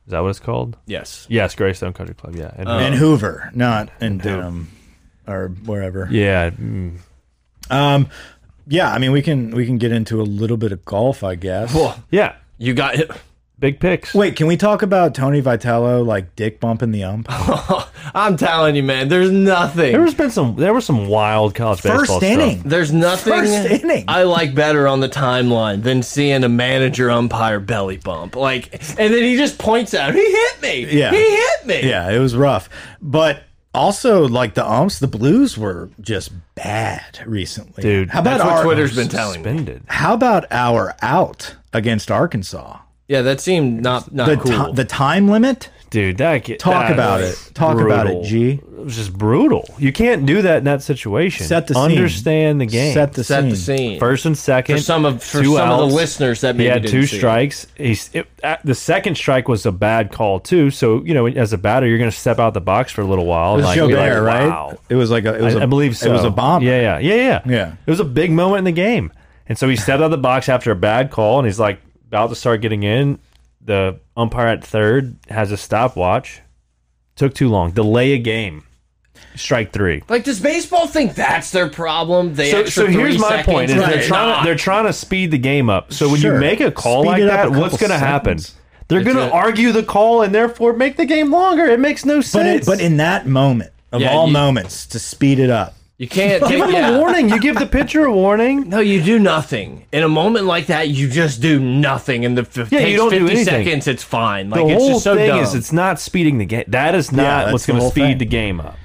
Speaker 4: Is that what it's called?
Speaker 2: Yes.
Speaker 4: Yes, Greystone Country Club. Yeah.
Speaker 2: Oh.
Speaker 4: And-
Speaker 3: in Hoover, not in Denham or wherever.
Speaker 4: yeah. mm.
Speaker 3: Yeah, I mean, we can we can get into a little bit of golf, I guess.
Speaker 4: Yeah.
Speaker 2: You got hit.
Speaker 4: Big picks.
Speaker 3: Wait, can we talk about Tony Vitello like dick bumping the ump?
Speaker 2: I'm telling you, man. There's nothing.
Speaker 4: There's been some. There was some wild college
Speaker 3: First
Speaker 4: baseball
Speaker 3: inning.
Speaker 4: stuff.
Speaker 2: There's nothing
Speaker 3: First inning.
Speaker 2: I like better on the timeline than seeing a manager umpire belly bump. Like, and then he just points out, he hit me.
Speaker 3: Yeah.
Speaker 2: He hit me.
Speaker 3: Yeah, it was rough. But also, like the umps, the Blues were just bad recently.
Speaker 4: Dude,
Speaker 3: how about
Speaker 2: That's
Speaker 3: our
Speaker 2: what Twitter's been telling me.
Speaker 4: Suspended.
Speaker 3: How about our out against Arkansas?
Speaker 2: Yeah, that seemed not not
Speaker 3: The
Speaker 2: cool.
Speaker 3: ti- the time limit.
Speaker 4: Dude, that get,
Speaker 3: Talk
Speaker 4: that
Speaker 3: about
Speaker 4: was
Speaker 3: it. Talk about it,
Speaker 4: brutal.
Speaker 3: G.
Speaker 4: It was just brutal. You can't do that in that situation.
Speaker 3: Set the scene.
Speaker 4: Understand the game.
Speaker 3: Set the
Speaker 2: Set
Speaker 3: scene.
Speaker 2: the scene.
Speaker 4: first and second.
Speaker 2: for some of for
Speaker 4: two
Speaker 2: some of
Speaker 4: outs.
Speaker 2: the listeners that
Speaker 4: He
Speaker 2: maybe
Speaker 4: had
Speaker 2: didn't
Speaker 4: two
Speaker 2: see it.
Speaker 4: strikes. He's it, uh, the second strike was a bad call too. So you know, as a batter, you're going to step out the box for a little while.
Speaker 3: It was
Speaker 4: like,
Speaker 3: Joe
Speaker 4: you're
Speaker 3: Bear,
Speaker 4: like,
Speaker 3: right?
Speaker 4: Wow.
Speaker 3: It was like a. It was
Speaker 4: I
Speaker 3: a-
Speaker 4: I believe so.
Speaker 3: It was a bomb.
Speaker 4: Yeah, yeah, yeah, yeah.
Speaker 3: Yeah.
Speaker 4: It was a big moment in the game, and so he stepped out of the box after a bad call, and he's like about to start getting in. The umpire at third has a stopwatch. Took too long. Delay a game. Strike three.
Speaker 2: Like, does baseball think that's their problem? The
Speaker 4: So,
Speaker 2: extra
Speaker 4: so here's
Speaker 2: three
Speaker 4: my
Speaker 2: seconds?
Speaker 4: point: is they're
Speaker 2: Right.
Speaker 4: trying
Speaker 2: Nah.
Speaker 4: to, they're trying to speed the game up. So when
Speaker 3: Sure.
Speaker 4: you make a call
Speaker 3: Speed
Speaker 4: like
Speaker 3: it up
Speaker 4: that,
Speaker 3: a
Speaker 4: what's
Speaker 3: couple
Speaker 4: going to happen?
Speaker 3: seconds.
Speaker 4: They're going to
Speaker 2: it.
Speaker 4: argue the call and therefore make the game longer. It makes no
Speaker 3: But
Speaker 4: sense.
Speaker 3: it, but in that moment of
Speaker 2: Yeah,
Speaker 3: all
Speaker 2: you-
Speaker 3: moments to speed it up.
Speaker 2: you can't
Speaker 4: give
Speaker 2: take
Speaker 4: them
Speaker 2: yeah.
Speaker 4: a warning. You give the pitcher a warning.
Speaker 2: No, you do nothing. In a moment like that, you just do nothing. And the f-
Speaker 4: Yeah, you
Speaker 2: takes
Speaker 4: don't do
Speaker 2: 50
Speaker 4: anything.
Speaker 2: seconds, it's fine. Like,
Speaker 4: The
Speaker 2: it's
Speaker 4: whole
Speaker 2: just so
Speaker 4: thing
Speaker 2: dumb.
Speaker 4: is it's not speeding the game. That is
Speaker 3: Yeah,
Speaker 4: not
Speaker 3: that's
Speaker 4: what's
Speaker 3: the
Speaker 4: going to
Speaker 3: whole
Speaker 4: speed
Speaker 3: thing.
Speaker 4: the game up.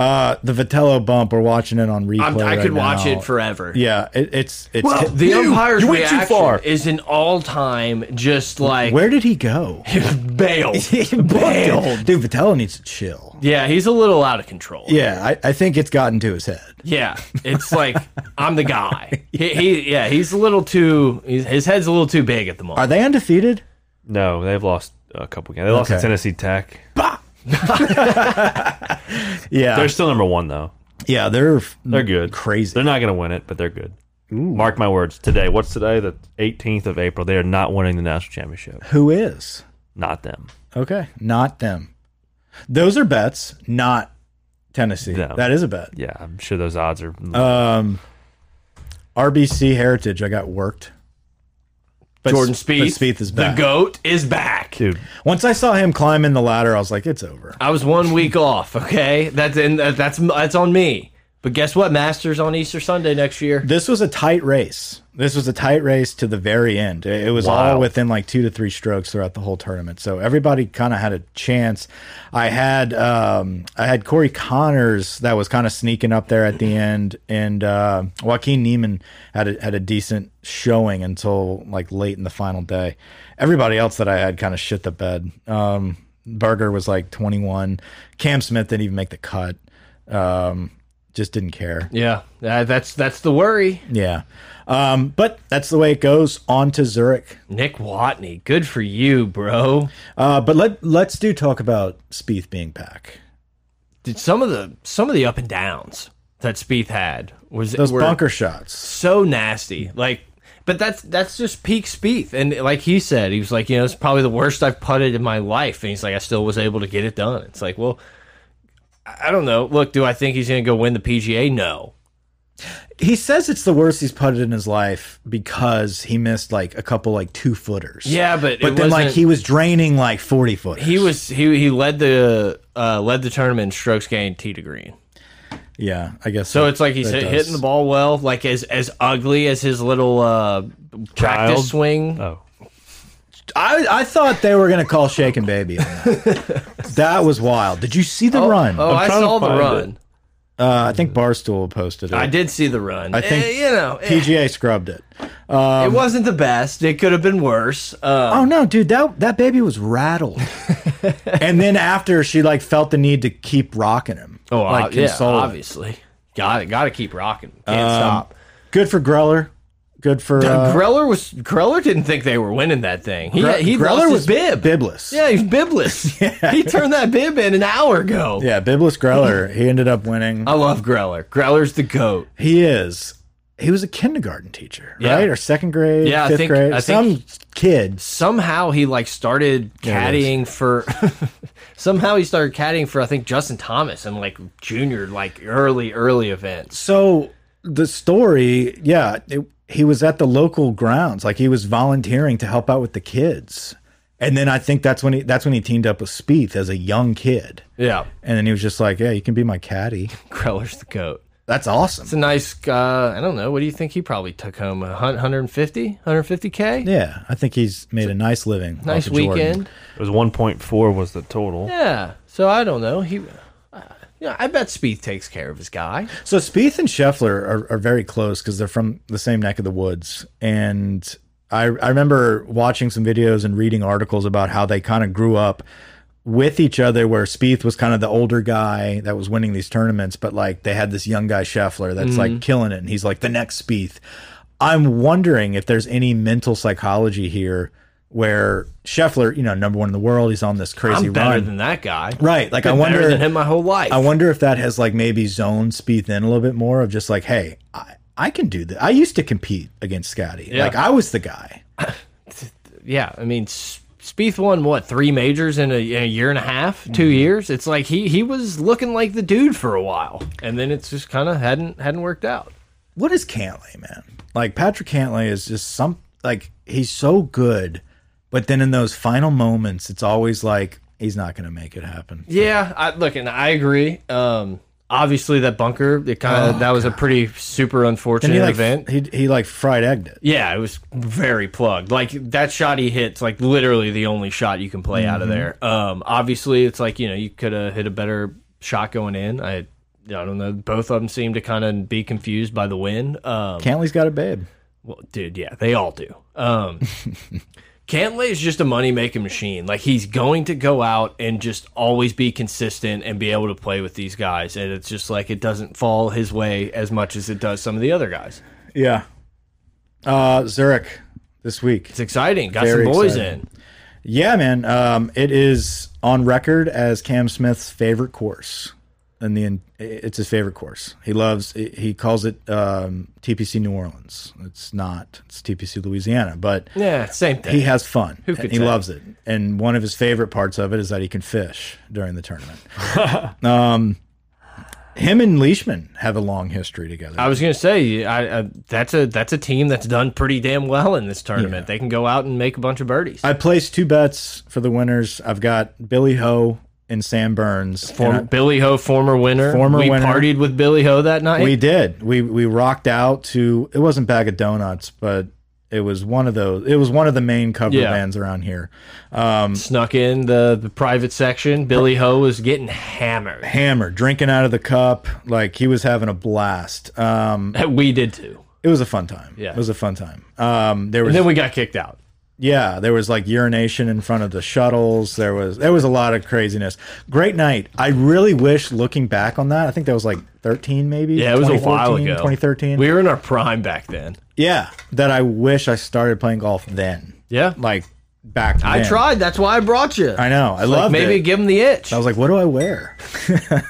Speaker 3: Uh, the Vitello bump. We're watching it on replay.
Speaker 2: I'm, I
Speaker 3: right
Speaker 2: could watch
Speaker 3: now.
Speaker 2: it forever.
Speaker 3: Yeah, it, it's it's.
Speaker 4: Well,
Speaker 2: The um
Speaker 4: You-
Speaker 2: umpire's
Speaker 4: you went too
Speaker 2: reaction
Speaker 4: far.
Speaker 2: is an all-time just like
Speaker 3: where did he go?
Speaker 2: bail.
Speaker 3: Bailed. Dude, Vitello needs to chill.
Speaker 2: Yeah, he's a little out of control.
Speaker 3: Yeah, I, I think it's gotten to his head.
Speaker 2: Yeah, it's like I'm the guy. He, he yeah, he's a little too. He's, his head's a little too big at the moment.
Speaker 3: Are they undefeated?
Speaker 4: No, they've lost a couple games. They lost to
Speaker 3: Okay.
Speaker 4: Tennessee Tech.
Speaker 3: Yeah,
Speaker 4: They're still number one though.
Speaker 3: yeah, they're
Speaker 4: They're good.
Speaker 3: Crazy.
Speaker 4: They're not going to win it, but they're good. Mark my words. Today, what's today? The 18th of April. They are not winning the national championship.
Speaker 3: Who is?
Speaker 4: Not them.
Speaker 3: Okay, not them. Those are bets, not Tennessee.
Speaker 4: Them.
Speaker 3: That is a bet.
Speaker 4: Yeah, I'm sure those odds are
Speaker 3: Um, RBC Heritage. I got worked. But
Speaker 2: Jordan
Speaker 3: S- but
Speaker 2: Spieth,
Speaker 3: Spieth is
Speaker 2: the
Speaker 3: back.
Speaker 2: goat is back.
Speaker 4: dude.
Speaker 3: Once I saw him climbing the ladder, I was like, it's over.
Speaker 2: I was one week off. Okay, that's and that- that's that's on me. But guess what? Masters on Easter Sunday next year.
Speaker 3: This was a tight race. This was a tight race to the very end. It it was all
Speaker 4: Wow.
Speaker 3: within like two to three strokes throughout the whole tournament. So everybody kind of had a chance. I had um, I had Corey Connors that was kind of sneaking up there at the end, and uh, Joaquin Neiman had a, had a decent showing until like late in the final day. Everybody else that I had kind of shit the bed. Um, Berger was like 21. Cam Smith didn't even make the cut. Um, just didn't care.
Speaker 2: Yeah, uh, that's that's the worry.
Speaker 3: Yeah. Um, but that's the way it goes on to Zurich.
Speaker 2: Nick Watney, good for you, bro.
Speaker 3: Uh, but let let's do talk about Spieth being back.
Speaker 2: Did some of the some of the up and downs that Spieth had was
Speaker 3: Those
Speaker 2: were
Speaker 3: bunker shots.
Speaker 2: so nasty. Like, but that's that's just peak Spieth. And like he said, he was like, you know, it's probably the worst I've putted in my life. And he's like, I still was able to get it done. It's like, well, I I don't know. Look, do I think he's going to go win the PGA? No.
Speaker 3: He says it's the worst he's putted in his life because he missed like a couple like two footers.
Speaker 2: Yeah, but
Speaker 3: But
Speaker 2: it
Speaker 3: then like
Speaker 2: wasn't-
Speaker 3: he was draining like forty footers.
Speaker 2: He was he he led the uh, led the tournament in strokes gained tee to green.
Speaker 3: Yeah, I guess
Speaker 2: So
Speaker 3: that-
Speaker 2: it's like he's
Speaker 3: that does.
Speaker 2: hit, hitting the ball well, like as as ugly as his little uh,
Speaker 4: Child?
Speaker 2: practice swing.
Speaker 4: Oh,
Speaker 3: I, I thought they were gonna call Shaken Baby. On that. that was wild. Did you see the
Speaker 2: Oh,
Speaker 3: run?
Speaker 2: Oh,
Speaker 4: I'm
Speaker 2: I
Speaker 4: trying to
Speaker 2: saw the
Speaker 4: find
Speaker 2: run.
Speaker 3: Uh, I think Barstool posted it.
Speaker 2: I did see the run. I
Speaker 3: think
Speaker 2: you know eh,
Speaker 3: PGA scrubbed it.
Speaker 2: it wasn't the best. It could have been worse. Uh,
Speaker 3: Oh no, dude, that that baby was rattled. and then after she like felt the need to keep rocking him.
Speaker 2: oh,
Speaker 3: like
Speaker 2: ob- yeah,
Speaker 3: console him.
Speaker 2: obviously. Got it. Got to keep rocking. Can't stop.
Speaker 3: Good for Greller. Good for Um, uh,
Speaker 2: Greller was Greller didn't think they were winning that thing. He
Speaker 3: Gre-
Speaker 2: he
Speaker 3: Greller
Speaker 2: lost
Speaker 3: was
Speaker 2: his bib.
Speaker 3: bibless.
Speaker 2: Yeah, he's bibless. He turned that bib in an hour ago.
Speaker 3: Yeah, bibless Greller. he ended up winning.
Speaker 2: I love Greller. Greller's the goat.
Speaker 3: He is. He was a kindergarten teacher,
Speaker 2: Yeah.
Speaker 3: right? Or second grade,
Speaker 2: Yeah, I
Speaker 3: fifth
Speaker 2: think-
Speaker 3: grade.
Speaker 2: I
Speaker 3: Some
Speaker 2: think-
Speaker 3: kid.
Speaker 2: somehow he like started
Speaker 3: it is.
Speaker 2: caddying for somehow he started caddying for I think Justin Thomas and like junior like early early events.
Speaker 3: So the story, yeah, it, he was at the local grounds, like he was volunteering to help out with the kids. And then I think that's when he that's when he teamed up with Spieth as a young kid.
Speaker 2: Yeah,
Speaker 3: And then he was just like, "Yeah, you can be my caddy."
Speaker 2: Greller's the goat.
Speaker 3: That's awesome.
Speaker 2: It's a nice. Uh, I don't know. What do you think he probably took home? A hun- 150, 150k.
Speaker 3: yeah, I think he's made a nice living.
Speaker 2: nice
Speaker 3: off of Jordan.
Speaker 2: weekend.
Speaker 4: it was 1.4 was the total.
Speaker 2: Yeah. So I don't know. He. uh, Yeah, I bet Spieth takes care of his guy.
Speaker 3: So Spieth and Scheffler are, are very close because they're from the same neck of the woods. And I, I remember watching some videos and reading articles about how they kind of grew up with each other, where Spieth was kind of the older guy that was winning these tournaments, but like they had this young guy Scheffler that's
Speaker 2: Mm-hmm.
Speaker 3: like killing it, and he's like the next Spieth. I'm wondering if there's any mental psychology here where Scheffler, you know, number one in the world, he's on this crazy
Speaker 2: I'm better
Speaker 3: run.
Speaker 2: than that guy.
Speaker 3: Right. Like I
Speaker 2: Been
Speaker 3: wonder
Speaker 2: better than him my whole life.
Speaker 3: I wonder if that has like maybe zoned Spieth in a little bit more of just like, hey, I, I can do that. I used to compete against Scotty. Like I was the guy.
Speaker 2: yeah, I mean, S- Spieth won what three majors in a, in a year and a half,
Speaker 3: Mm-hmm.
Speaker 2: two years. It's like he he was looking like the dude for a while, and then it's just kind of hadn't hadn't worked out.
Speaker 3: What is Cantley, man? Like Patrick Cantley is just some like he's so good, but then in those final moments, it's always like he's not going to make it happen.
Speaker 2: Yeah, I, look, and I agree. Um, obviously, that bunker, it kind of that was a pretty super unfortunate
Speaker 3: And Oh, he like
Speaker 2: event.
Speaker 3: he he like fried egged it.
Speaker 2: Yeah, it was very plugged. Like that shot he hits, like literally the only shot you can play out
Speaker 3: Mm-hmm.
Speaker 2: of there. Um, obviously, it's like you know you could have hit a better shot going in. I. I don't know. Both of them seem to kind of be confused by the win. Um,
Speaker 3: Cantley's got a babe.
Speaker 2: Well, dude, yeah, they all do. Um, Cantley is just a money making machine. Like he's going to go out and just always be consistent and be able to play with these guys. And it's just like it doesn't fall his way as much as it does some of the other guys.
Speaker 3: Yeah. Uh, Zurich this week.
Speaker 2: It's exciting. Got
Speaker 3: Very
Speaker 2: some boys
Speaker 3: exciting.
Speaker 2: in.
Speaker 3: Yeah, man. Um, it is on record as Cam Smith's favorite course, and the it's his favorite course. He loves. He calls it um, TPC New Orleans. It's not. It's TPC Louisiana, but
Speaker 2: Yeah, same thing.
Speaker 3: he has fun.
Speaker 2: could
Speaker 3: and he
Speaker 2: say?
Speaker 3: loves it. And one of his favorite parts of it is that he can fish during the tournament. um, him and Leishman have a long history together.
Speaker 2: I was gonna say, I, I, that's a that's a team that's done pretty damn well in this tournament. They can go out and make a bunch of birdies.
Speaker 3: I placed two bets for the winners. I've got Billy Ho and Sam Burns.
Speaker 2: Form,
Speaker 3: And I-
Speaker 2: Billy Ho, former winner.
Speaker 3: Former
Speaker 2: we
Speaker 3: winner.
Speaker 2: partied with Billy Ho that night.
Speaker 3: We did. We we rocked out to it wasn't bag of donuts, but it was one of those. It was one of the main cover
Speaker 2: Yeah.
Speaker 3: bands around here.
Speaker 2: snuck in the, the private section. Billy Ho was getting hammered.
Speaker 3: Hammer, drinking out of the cup, like he was having a blast. Um,
Speaker 2: We did too.
Speaker 3: it was a fun time.
Speaker 2: Yeah.
Speaker 3: it was a fun time. Um, there was
Speaker 2: And then we got kicked out.
Speaker 3: yeah, there was like urination in front of the shuttles. There was there was a lot of craziness. Great night. I really wish looking back on that. I think that was like thirteen, maybe.
Speaker 2: Yeah, it was a while
Speaker 3: 2014,
Speaker 2: ago.
Speaker 3: 2013.
Speaker 2: We were in our prime back then.
Speaker 3: yeah, that I wish I started playing golf then.
Speaker 2: Yeah.
Speaker 3: like back.
Speaker 2: I
Speaker 3: then.
Speaker 2: tried. That's why I brought you.
Speaker 3: I know. I
Speaker 2: Like,
Speaker 3: love
Speaker 2: maybe
Speaker 3: it.
Speaker 2: give him the itch.
Speaker 3: I was like, what do I wear?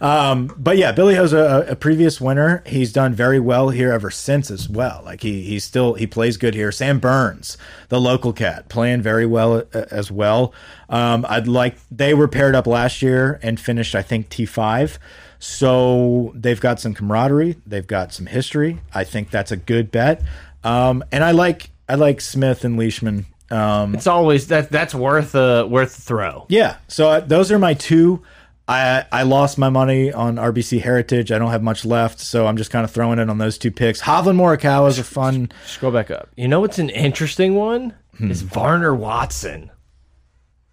Speaker 3: um, but yeah, Billy Ho's a, a previous winner. He's done very well here ever since as well. Like he he still he plays good here. Sam Burns, the local cat, playing very well uh, as well. Um, I'd like they were paired up last year and finished I think T five. So they've got some camaraderie. They've got some history. I think that's a good bet. Um, and I like I like Smith and Leishman. Um,
Speaker 2: it's always that that's uh, worth a worth a throw.
Speaker 3: yeah. So uh, those are my two. I I lost my money on RBC Heritage. I don't have much left, so I'm just kind of throwing it on those two picks. Hovland Morikawa is a fun.
Speaker 2: Scroll back up. You know what's an interesting one?
Speaker 3: Hmm.
Speaker 2: Is Varner Watson.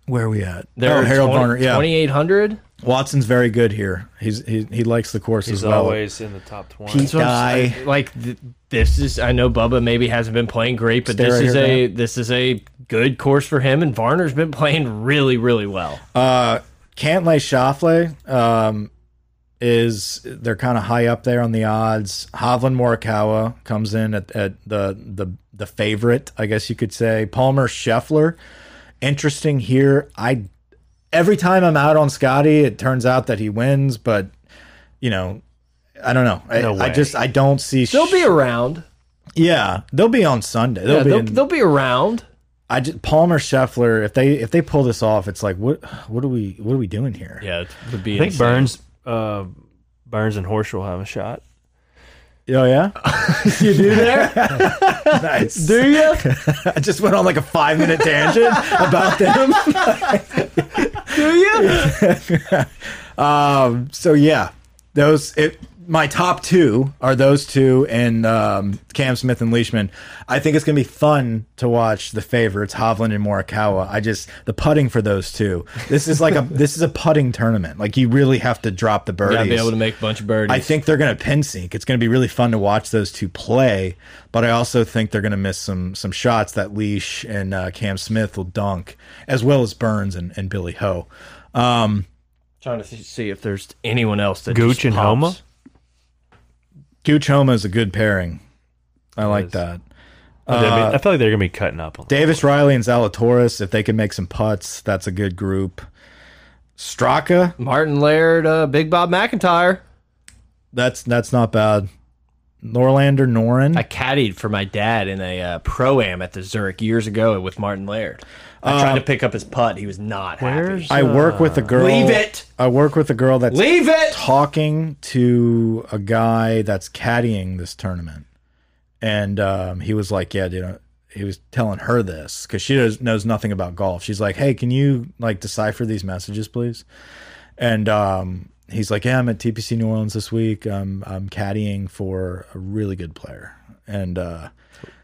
Speaker 3: Where are we at?
Speaker 2: They're
Speaker 3: oh, Harold
Speaker 2: 20
Speaker 3: Varner. Yeah,
Speaker 2: 2,800
Speaker 3: Watson's very good here. He's he, he likes the course as
Speaker 4: He's
Speaker 3: well.
Speaker 4: always in the top twenty.
Speaker 3: Pete
Speaker 2: So I'm
Speaker 3: guy.
Speaker 2: s- like th this is I know Bubba maybe hasn't been playing great, but
Speaker 3: Stay
Speaker 2: this
Speaker 3: right
Speaker 2: is
Speaker 3: here,
Speaker 2: a this is a good course for him, and Varner's been playing really really well.
Speaker 3: Uh, Cantlay Shoffley um, is they're kind of high up there on the odds. Hovland Morikawa comes in at, at the the the favorite, I guess you could say. Palmer Scheffler, interesting here. I every time I'm out on Scotty, it turns out that he wins, but you know, I don't know. I,
Speaker 4: No
Speaker 3: I
Speaker 4: way.
Speaker 3: just I don't see.
Speaker 2: They'll be around.
Speaker 3: yeah, they'll be on Sunday. They'll
Speaker 2: Yeah,
Speaker 3: be
Speaker 2: they'll,
Speaker 3: in-
Speaker 2: they'll be around.
Speaker 3: I just Palmer Scheffler. If they if they pull this off, it's like what what are we what are we doing here?
Speaker 2: Yeah, it would be.
Speaker 4: I think Burns, uh, Burns and Horschel will have a shot.
Speaker 3: Oh yeah,
Speaker 2: you do there.
Speaker 3: nice.
Speaker 2: do you?
Speaker 3: I just went on like a five minute tangent about them.
Speaker 2: Do you?
Speaker 3: Um, so yeah, those it. My top two are those two and um, Cam Smith and Leishman. I think it's gonna be fun to watch the favorites Hovland and Morikawa. I just the putting for those two. This is like a this is a putting tournament. Like you really have to drop the birdies.
Speaker 2: Gotta be able to make a bunch of birdies.
Speaker 3: I think they're going to pin sync. It's going to be really fun to watch those two play, but I also think they're going to miss some some shots that Leash and uh, Cam Smith will dunk, as well as Burns and, and Billy Ho. Um,
Speaker 2: trying to see- see if there's anyone else that
Speaker 4: Gooch
Speaker 2: just
Speaker 4: and
Speaker 2: pops.
Speaker 4: Homa?
Speaker 3: Gooch Homa is a good pairing. I like
Speaker 4: is.
Speaker 3: that.
Speaker 4: I
Speaker 3: Uh,
Speaker 4: feel like they're gonna be cutting up. On
Speaker 3: Davis Riley and Zalatoris, if they can make some putts, that's a good group. Straka,
Speaker 2: Martin Laird, uh, Big Bob McIntyre.
Speaker 3: that's that's not bad. Norlander Norin.
Speaker 2: I caddied for my dad in a uh, pro am at the Zurich years ago with Martin Laird. I tried
Speaker 3: Um,
Speaker 2: to pick up his putt. He was not happy.
Speaker 4: Where's-
Speaker 3: I work with a girl.
Speaker 2: Leave it.
Speaker 3: I work with a girl that's
Speaker 2: Leave it.
Speaker 3: talking to a guy that's caddying this tournament, and um, he was like, "Yeah, dude." I- He was telling her this because she does, knows nothing about golf. She's like, "Hey, can you like decipher these messages, please?" And um, he's like, "Yeah, I'm at TPC New Orleans this week. I'm I'm caddying for a really good player." And uh,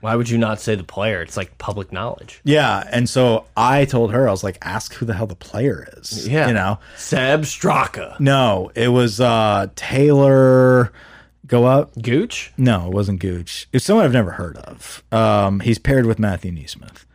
Speaker 2: Why would you not say the player? It's like public knowledge.
Speaker 3: yeah, and so I told her I was like, "Ask who the hell the player is."
Speaker 2: Yeah.
Speaker 3: you know.
Speaker 2: Seb Straka.
Speaker 3: No, it was uh, Taylor. Go up.
Speaker 2: Gooch?
Speaker 3: No, it wasn't Gooch. It's someone I've never heard of. Um, he's paired with Matthew Neesmith.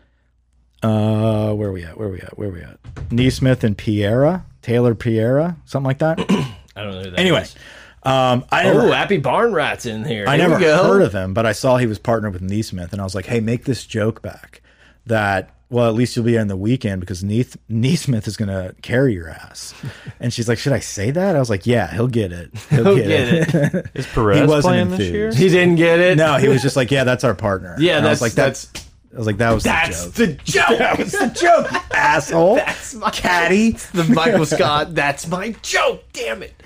Speaker 3: Uh, where we at? Where we at? Where we at? Neesmith and Piera, Taylor Piera, something like that.
Speaker 2: I don't know who that
Speaker 3: anyway,
Speaker 2: is.
Speaker 3: um, I never,
Speaker 2: Oh, Happy Barn Rat's in here.
Speaker 3: I
Speaker 2: Here
Speaker 3: never
Speaker 2: we go.
Speaker 3: heard of him, but I saw he was partnered with Neesmith, and I was like, hey, make this joke back that. Well, at least you'll be on the weekend because Neith, Neesmith is going to carry your ass. And she's like, Should I say that? I was like, Yeah, he'll get it. He'll,
Speaker 2: Who get it?
Speaker 4: is Perez
Speaker 3: he wasn't
Speaker 4: playing this year?
Speaker 3: enthused.
Speaker 2: He didn't get it.
Speaker 3: No, he was just like, yeah, that's our partner.
Speaker 2: Yeah,
Speaker 3: And I was
Speaker 2: that's-
Speaker 3: like that's. I was like, that was
Speaker 2: That's
Speaker 3: the joke.
Speaker 2: the joke. that was the joke.
Speaker 3: asshole.
Speaker 2: That's my caddy. The Michael Scott. That's my joke. Damn it.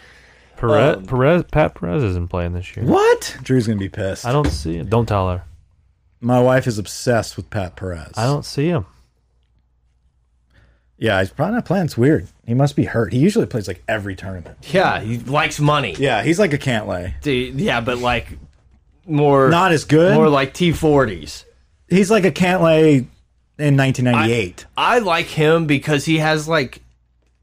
Speaker 4: Perez,
Speaker 2: Um,
Speaker 4: Perez, Pat Perez isn't playing this year.
Speaker 3: uh, what? Drew's gonna be pissed.
Speaker 4: I don't see it. Don't tell her.
Speaker 3: My wife is obsessed with Pat Perez.
Speaker 4: I don't see him.
Speaker 3: Yeah, he's probably not playing. It's weird. He must be hurt. He usually plays like every tournament.
Speaker 2: Yeah, he likes money. Yeah,
Speaker 3: Yeah, he's like a Cantlay.
Speaker 2: yeah but like more
Speaker 3: Not as good.
Speaker 2: more like T40s.
Speaker 3: he's like a Cantlay in 1998.
Speaker 2: I like him because he has like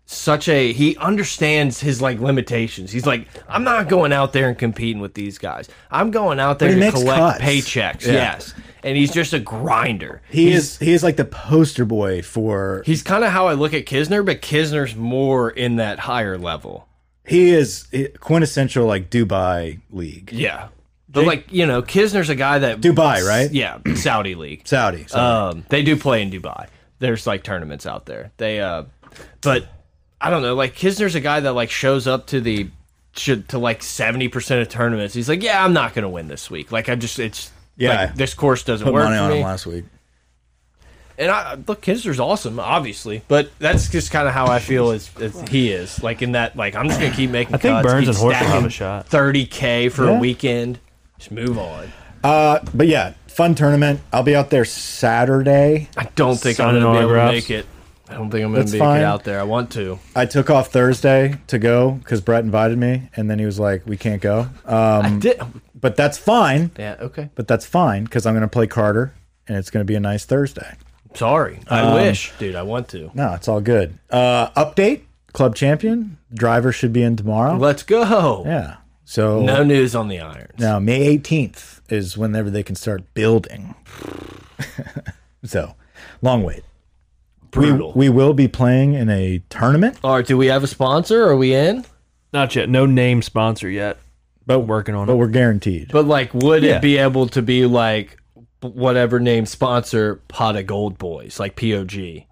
Speaker 2: such a he understands his like limitations. He's like, I'm not going out there and competing with these guys. I'm going out there
Speaker 3: But he
Speaker 2: to
Speaker 3: makes
Speaker 2: collect
Speaker 3: cuts.
Speaker 2: paychecks.
Speaker 3: Yeah.
Speaker 2: Yes. And he's just a grinder.
Speaker 3: he
Speaker 2: he's,
Speaker 3: is he is like the poster boy for
Speaker 2: he's kind of how I look at Kisner, but Kisner's more in that higher level.
Speaker 3: he is quintessential like Dubai league.
Speaker 2: Yeah. But like, you know, Kisner's a guy that
Speaker 3: Dubai, right?
Speaker 2: Yeah, Saudi league.
Speaker 3: Saudi. So
Speaker 2: Um, they do play in Dubai. There's like tournaments out there. They, uh, but I don't know. Like Kisner's a guy that like shows up to the should to like seventy percent of tournaments. He's like, yeah, I'm not gonna win this week. Like I just it's
Speaker 3: Yeah.
Speaker 2: like, this course doesn't
Speaker 3: put
Speaker 2: work
Speaker 3: money
Speaker 2: for
Speaker 3: on
Speaker 2: me.
Speaker 3: him last week.
Speaker 2: And I look, Kisner's awesome, obviously, but that's just kind of how I feel as, as he is. Like in that, like I'm just gonna keep making.
Speaker 4: I think
Speaker 2: cuts,
Speaker 4: Burns
Speaker 2: keep
Speaker 4: and Horford have
Speaker 2: stacking
Speaker 4: a shot.
Speaker 2: 30k for
Speaker 3: Yeah.
Speaker 2: a weekend. Just move on.
Speaker 3: Uh, but yeah, fun tournament. I'll be out there Saturday.
Speaker 2: I don't think I'm
Speaker 4: Signing
Speaker 2: gonna be able to
Speaker 4: autographs.
Speaker 2: make it. I don't think I'm going
Speaker 3: That's
Speaker 2: to be
Speaker 3: fine.
Speaker 2: get out there. I want to.
Speaker 3: I took off Thursday to go because Brett invited me, and then he was like, "We can't go,"
Speaker 2: I
Speaker 3: um,
Speaker 2: did.
Speaker 3: but that's fine.
Speaker 2: Oh, Yeah. Okay.
Speaker 3: But that's fine because I'm going to play Carter, and it's going to be a nice Thursday.
Speaker 2: Sorry. Um, I wish, dude. I want to.
Speaker 3: No, it's all good. Uh, update: Club champion driver should be in tomorrow.
Speaker 2: Let's go.
Speaker 3: yeah. So
Speaker 2: No news on the irons.
Speaker 3: now May 18th is whenever they can start building. so long wait. We,
Speaker 2: Brutal.
Speaker 3: we will be playing in a tournament,
Speaker 2: All right. Do we have a sponsor? Are we in?
Speaker 4: Not yet. No name sponsor yet.
Speaker 3: but
Speaker 4: Working on
Speaker 3: but
Speaker 4: it.
Speaker 3: we're guaranteed.
Speaker 2: But like, would
Speaker 4: Yeah.
Speaker 2: it be able to be like whatever name sponsor Pot of Gold Boys, like POG?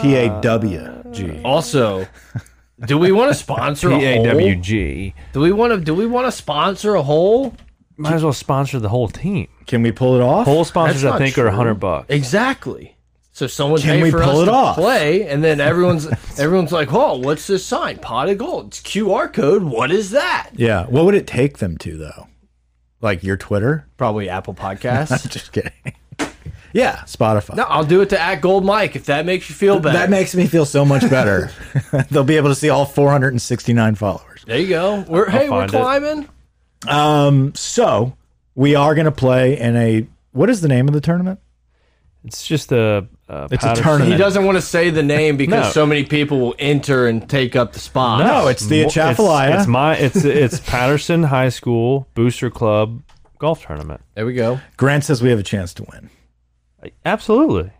Speaker 3: P A W
Speaker 2: Uh,
Speaker 3: G.
Speaker 2: Also, do we want to sponsor
Speaker 4: P
Speaker 2: a
Speaker 4: A W
Speaker 2: hole?
Speaker 4: G.
Speaker 2: Do we want to? Do we want to sponsor a hole?
Speaker 4: Might as well sponsor the whole team.
Speaker 3: Can we pull it off?
Speaker 4: Whole sponsors,
Speaker 2: That's
Speaker 4: I
Speaker 2: not
Speaker 4: think, are are
Speaker 2: true.
Speaker 4: hundred bucks.
Speaker 2: Exactly. So someone
Speaker 3: Can
Speaker 2: pay
Speaker 3: we
Speaker 2: for
Speaker 3: pull
Speaker 2: us
Speaker 3: it
Speaker 2: to
Speaker 3: off?
Speaker 2: play, and then everyone's everyone's like, "Oh, what's this sign? Pot of gold. It's QR code. What is that?"
Speaker 3: Yeah. What would it take them to though? Like your Twitter?
Speaker 2: Probably Apple Podcasts.
Speaker 3: Just kidding. yeah, Spotify.
Speaker 2: no, I'll do it to at Gold Mike if that makes you feel better.
Speaker 3: That makes me feel so much better. They'll be able to see all 469 followers.
Speaker 2: there you go. We're hey, we're
Speaker 4: find it.
Speaker 2: climbing.
Speaker 3: Um, so we are going to play in a what is the name of the tournament?
Speaker 4: It's just a. uh, a
Speaker 3: It's a
Speaker 4: powder-
Speaker 3: tournament.
Speaker 2: He doesn't want to say the name because
Speaker 4: No.
Speaker 2: so many people will enter and take up the spot.
Speaker 3: No, it's the
Speaker 4: mo-
Speaker 3: Atchafalaya.
Speaker 4: It's, it's my. It's it's Patterson High School Booster Club golf tournament.
Speaker 2: There we go.
Speaker 3: Grant says we have a chance to win.
Speaker 4: Absolutely.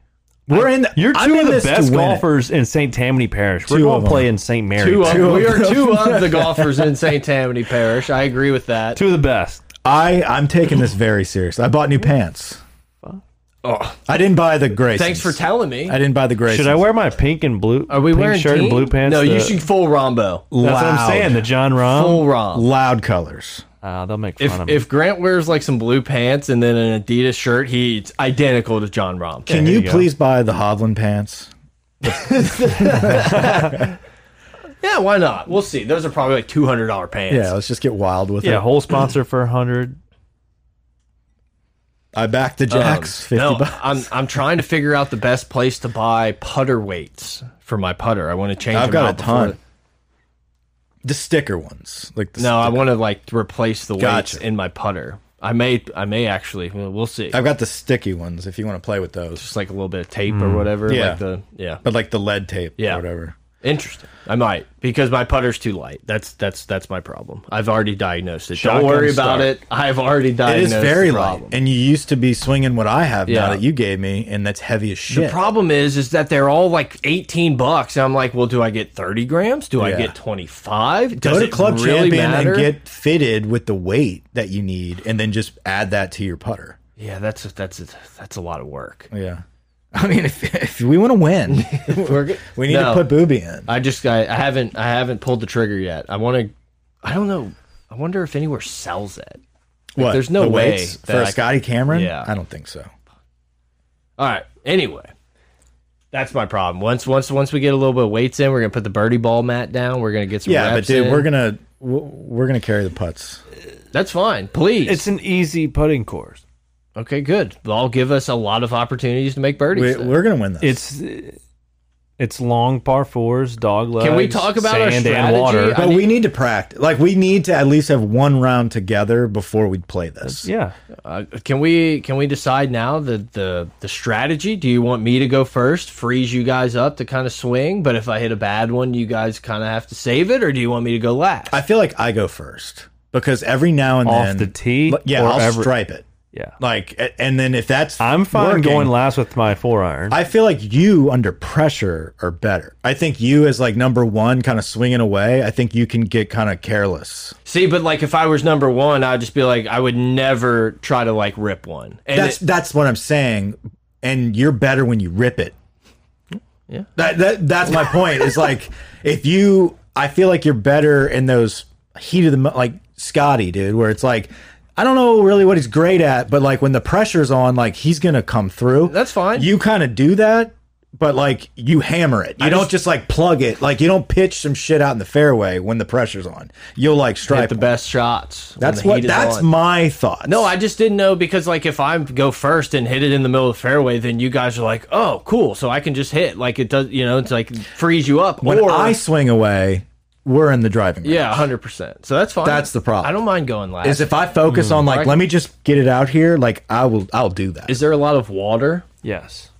Speaker 3: We're in.
Speaker 4: You're 2
Speaker 3: I'm in
Speaker 4: of the
Speaker 3: this to
Speaker 4: best
Speaker 3: win it.
Speaker 4: golfers in St. Tammany Parish. We're
Speaker 3: Two
Speaker 4: going
Speaker 3: of
Speaker 4: to
Speaker 3: them.
Speaker 4: play in St. Mary's.
Speaker 2: Two of,
Speaker 3: Two of
Speaker 2: we are
Speaker 3: them.
Speaker 2: two of the golfers in St. Tammany Parish. I agree with that.
Speaker 4: Two of the best.
Speaker 3: I I'm taking this very seriously. I bought new pants.
Speaker 2: Oh,
Speaker 3: I didn't buy the Graysons.
Speaker 2: thanks for telling me.
Speaker 3: I didn't buy the Graysons.
Speaker 4: Should I wear my pink and blue?
Speaker 2: Are we
Speaker 4: pink
Speaker 2: wearing
Speaker 4: shirt
Speaker 2: team?
Speaker 4: and blue pants?
Speaker 2: No, you
Speaker 4: The-
Speaker 2: should full Rombo.
Speaker 4: That's what
Speaker 3: Loud.
Speaker 4: I'm saying. The John
Speaker 2: Full
Speaker 4: Rom.
Speaker 2: Rom.
Speaker 3: loud colors?
Speaker 4: Uh, they'll make fun
Speaker 2: If
Speaker 4: of me.
Speaker 2: if Grant wears like some blue pants and then an Adidas shirt, he's identical to John Rom.
Speaker 3: Can you,
Speaker 4: you go.
Speaker 3: please buy the Hovland pants?
Speaker 2: Yeah, why not? We'll see. Those are probably like two hundred dollar pants.
Speaker 3: Yeah, let's just get wild with
Speaker 4: yeah,
Speaker 3: it.
Speaker 4: whole sponsor for hundred.
Speaker 3: I backed the
Speaker 2: Um,
Speaker 3: Jacks, fifty
Speaker 2: no,
Speaker 3: bucks.
Speaker 2: I'm I'm trying to figure out the best place to buy putter weights for my putter. I want to change.
Speaker 3: I've got
Speaker 2: them out
Speaker 3: a ton.
Speaker 2: before-
Speaker 3: The sticker ones, like the
Speaker 2: No, I want to like replace the
Speaker 3: Gotcha.
Speaker 2: weights in my putter. I may I may actually. We'll we'll see.
Speaker 3: I've got the sticky ones. If you want to play with those,
Speaker 2: Just like a little bit of tape or whatever.
Speaker 3: Mm, Yeah.
Speaker 2: Like the yeah.
Speaker 3: but like the lead tape,
Speaker 2: Yeah.
Speaker 3: or whatever.
Speaker 2: Interesting. I might because my putter's too light. That's that's that's my problem. I've already diagnosed it.
Speaker 4: Shotgun
Speaker 2: Don't worry
Speaker 4: start.
Speaker 2: about it. I've already
Speaker 3: It is
Speaker 2: diagnosed.
Speaker 3: very
Speaker 2: the
Speaker 3: light,
Speaker 2: problem.
Speaker 3: and you used to be swinging what I have now
Speaker 2: Yeah.
Speaker 3: that you gave me, and that's heavy as
Speaker 2: The
Speaker 3: shit.
Speaker 2: problem is, is that they're all like eighteen bucks. And I'm like, well, do I get thirty grams? Do I
Speaker 3: Yeah.
Speaker 2: get twenty five?
Speaker 3: Go
Speaker 2: Does
Speaker 3: to
Speaker 2: it
Speaker 3: Club
Speaker 2: really
Speaker 3: Champion
Speaker 2: matter?
Speaker 3: and get fitted with the weight that you need, and then just add that to your putter.
Speaker 2: Yeah, that's that's that's a lot of work.
Speaker 3: Yeah, I mean, if, if we want to win, we need
Speaker 2: No.
Speaker 3: to put booby in.
Speaker 2: I just I, I haven't I haven't pulled the trigger yet. I want to. I don't know. I wonder if anywhere sells it.
Speaker 3: What?
Speaker 2: there's no
Speaker 3: the
Speaker 2: way
Speaker 3: weights
Speaker 2: that
Speaker 3: for
Speaker 2: I
Speaker 3: a
Speaker 2: can-
Speaker 3: Scotty Cameron.
Speaker 2: Yeah.
Speaker 3: I don't think so.
Speaker 2: All right. Anyway, that's my problem. Once once once we get a little bit of weights in, we're gonna put the birdie ball mat down. We're gonna get some.
Speaker 3: Yeah, but
Speaker 2: reps
Speaker 3: dude,
Speaker 2: in.
Speaker 3: we're gonna w- we're gonna carry the putts.
Speaker 2: That's fine. Please.
Speaker 4: It's an easy putting course.
Speaker 2: okay. Good. That'll give us a lot of opportunities to make birdies.
Speaker 3: We,
Speaker 2: then.
Speaker 3: we're gonna win this.
Speaker 4: It's uh, it's long par fours, dog legs.
Speaker 2: Can we talk about our
Speaker 4: sand and
Speaker 2: strategy?
Speaker 4: water?
Speaker 2: I
Speaker 3: But
Speaker 2: need-
Speaker 3: we need to practice. Like we need to at least have one round together before we play this.
Speaker 4: yeah,
Speaker 2: Uh, can we can we decide now the the the strategy? Do you want me to go first, freeze you guys up to kind of swing? But if I hit a bad one, you guys kind of have to save it, or do you want me to go last?
Speaker 3: I feel like I go first because every now and
Speaker 4: Off
Speaker 3: then
Speaker 4: the tee
Speaker 3: L- Yeah,
Speaker 4: or
Speaker 3: I'll
Speaker 4: every-
Speaker 3: stripe it.
Speaker 4: yeah.
Speaker 3: Like, a- and then if that's
Speaker 4: I'm fine
Speaker 3: working,
Speaker 4: going last with my four iron.
Speaker 3: I feel like you under pressure are better. I think you as like number one, kind of swinging away. I think you can get kind of careless.
Speaker 2: See, but like if I was number one, I'd just be like, I would never try to like rip one. And
Speaker 3: that's
Speaker 2: it-
Speaker 3: that's what I'm saying. And you're better when you rip it.
Speaker 2: Yeah.
Speaker 3: That that that's my point. Is like if you, I feel like you're better in those heat of the mo- like Scotty, dude, where it's like. I don't know really what he's great at, but like when the pressure's on, like he's gonna come through.
Speaker 2: That's fine.
Speaker 3: You kind of do that, but like you hammer it. You don't just like plug it. Like you don't pitch some shit out in the fairway when the pressure's on. You'll like
Speaker 2: Hit
Speaker 3: strike
Speaker 2: the best shots. when
Speaker 3: That's
Speaker 2: the
Speaker 3: what.
Speaker 2: heat is
Speaker 3: That's
Speaker 2: on.
Speaker 3: my thought.
Speaker 2: No, I just didn't know because like if I go first and hit it in the middle of the fairway, then you guys are like, oh, cool, so I can just hit like it does. You know, it's like frees you up.
Speaker 3: when
Speaker 2: or
Speaker 3: I swing away, we're in the driving. range.
Speaker 2: yeah, hundred percent. So that's fine.
Speaker 3: That's the problem.
Speaker 2: I don't mind going last.
Speaker 3: Is if I focus
Speaker 4: Mm-hmm.
Speaker 3: on like, let me just get it out here. Like I will. I'll do that.
Speaker 2: Is there a lot of water?
Speaker 4: Yes.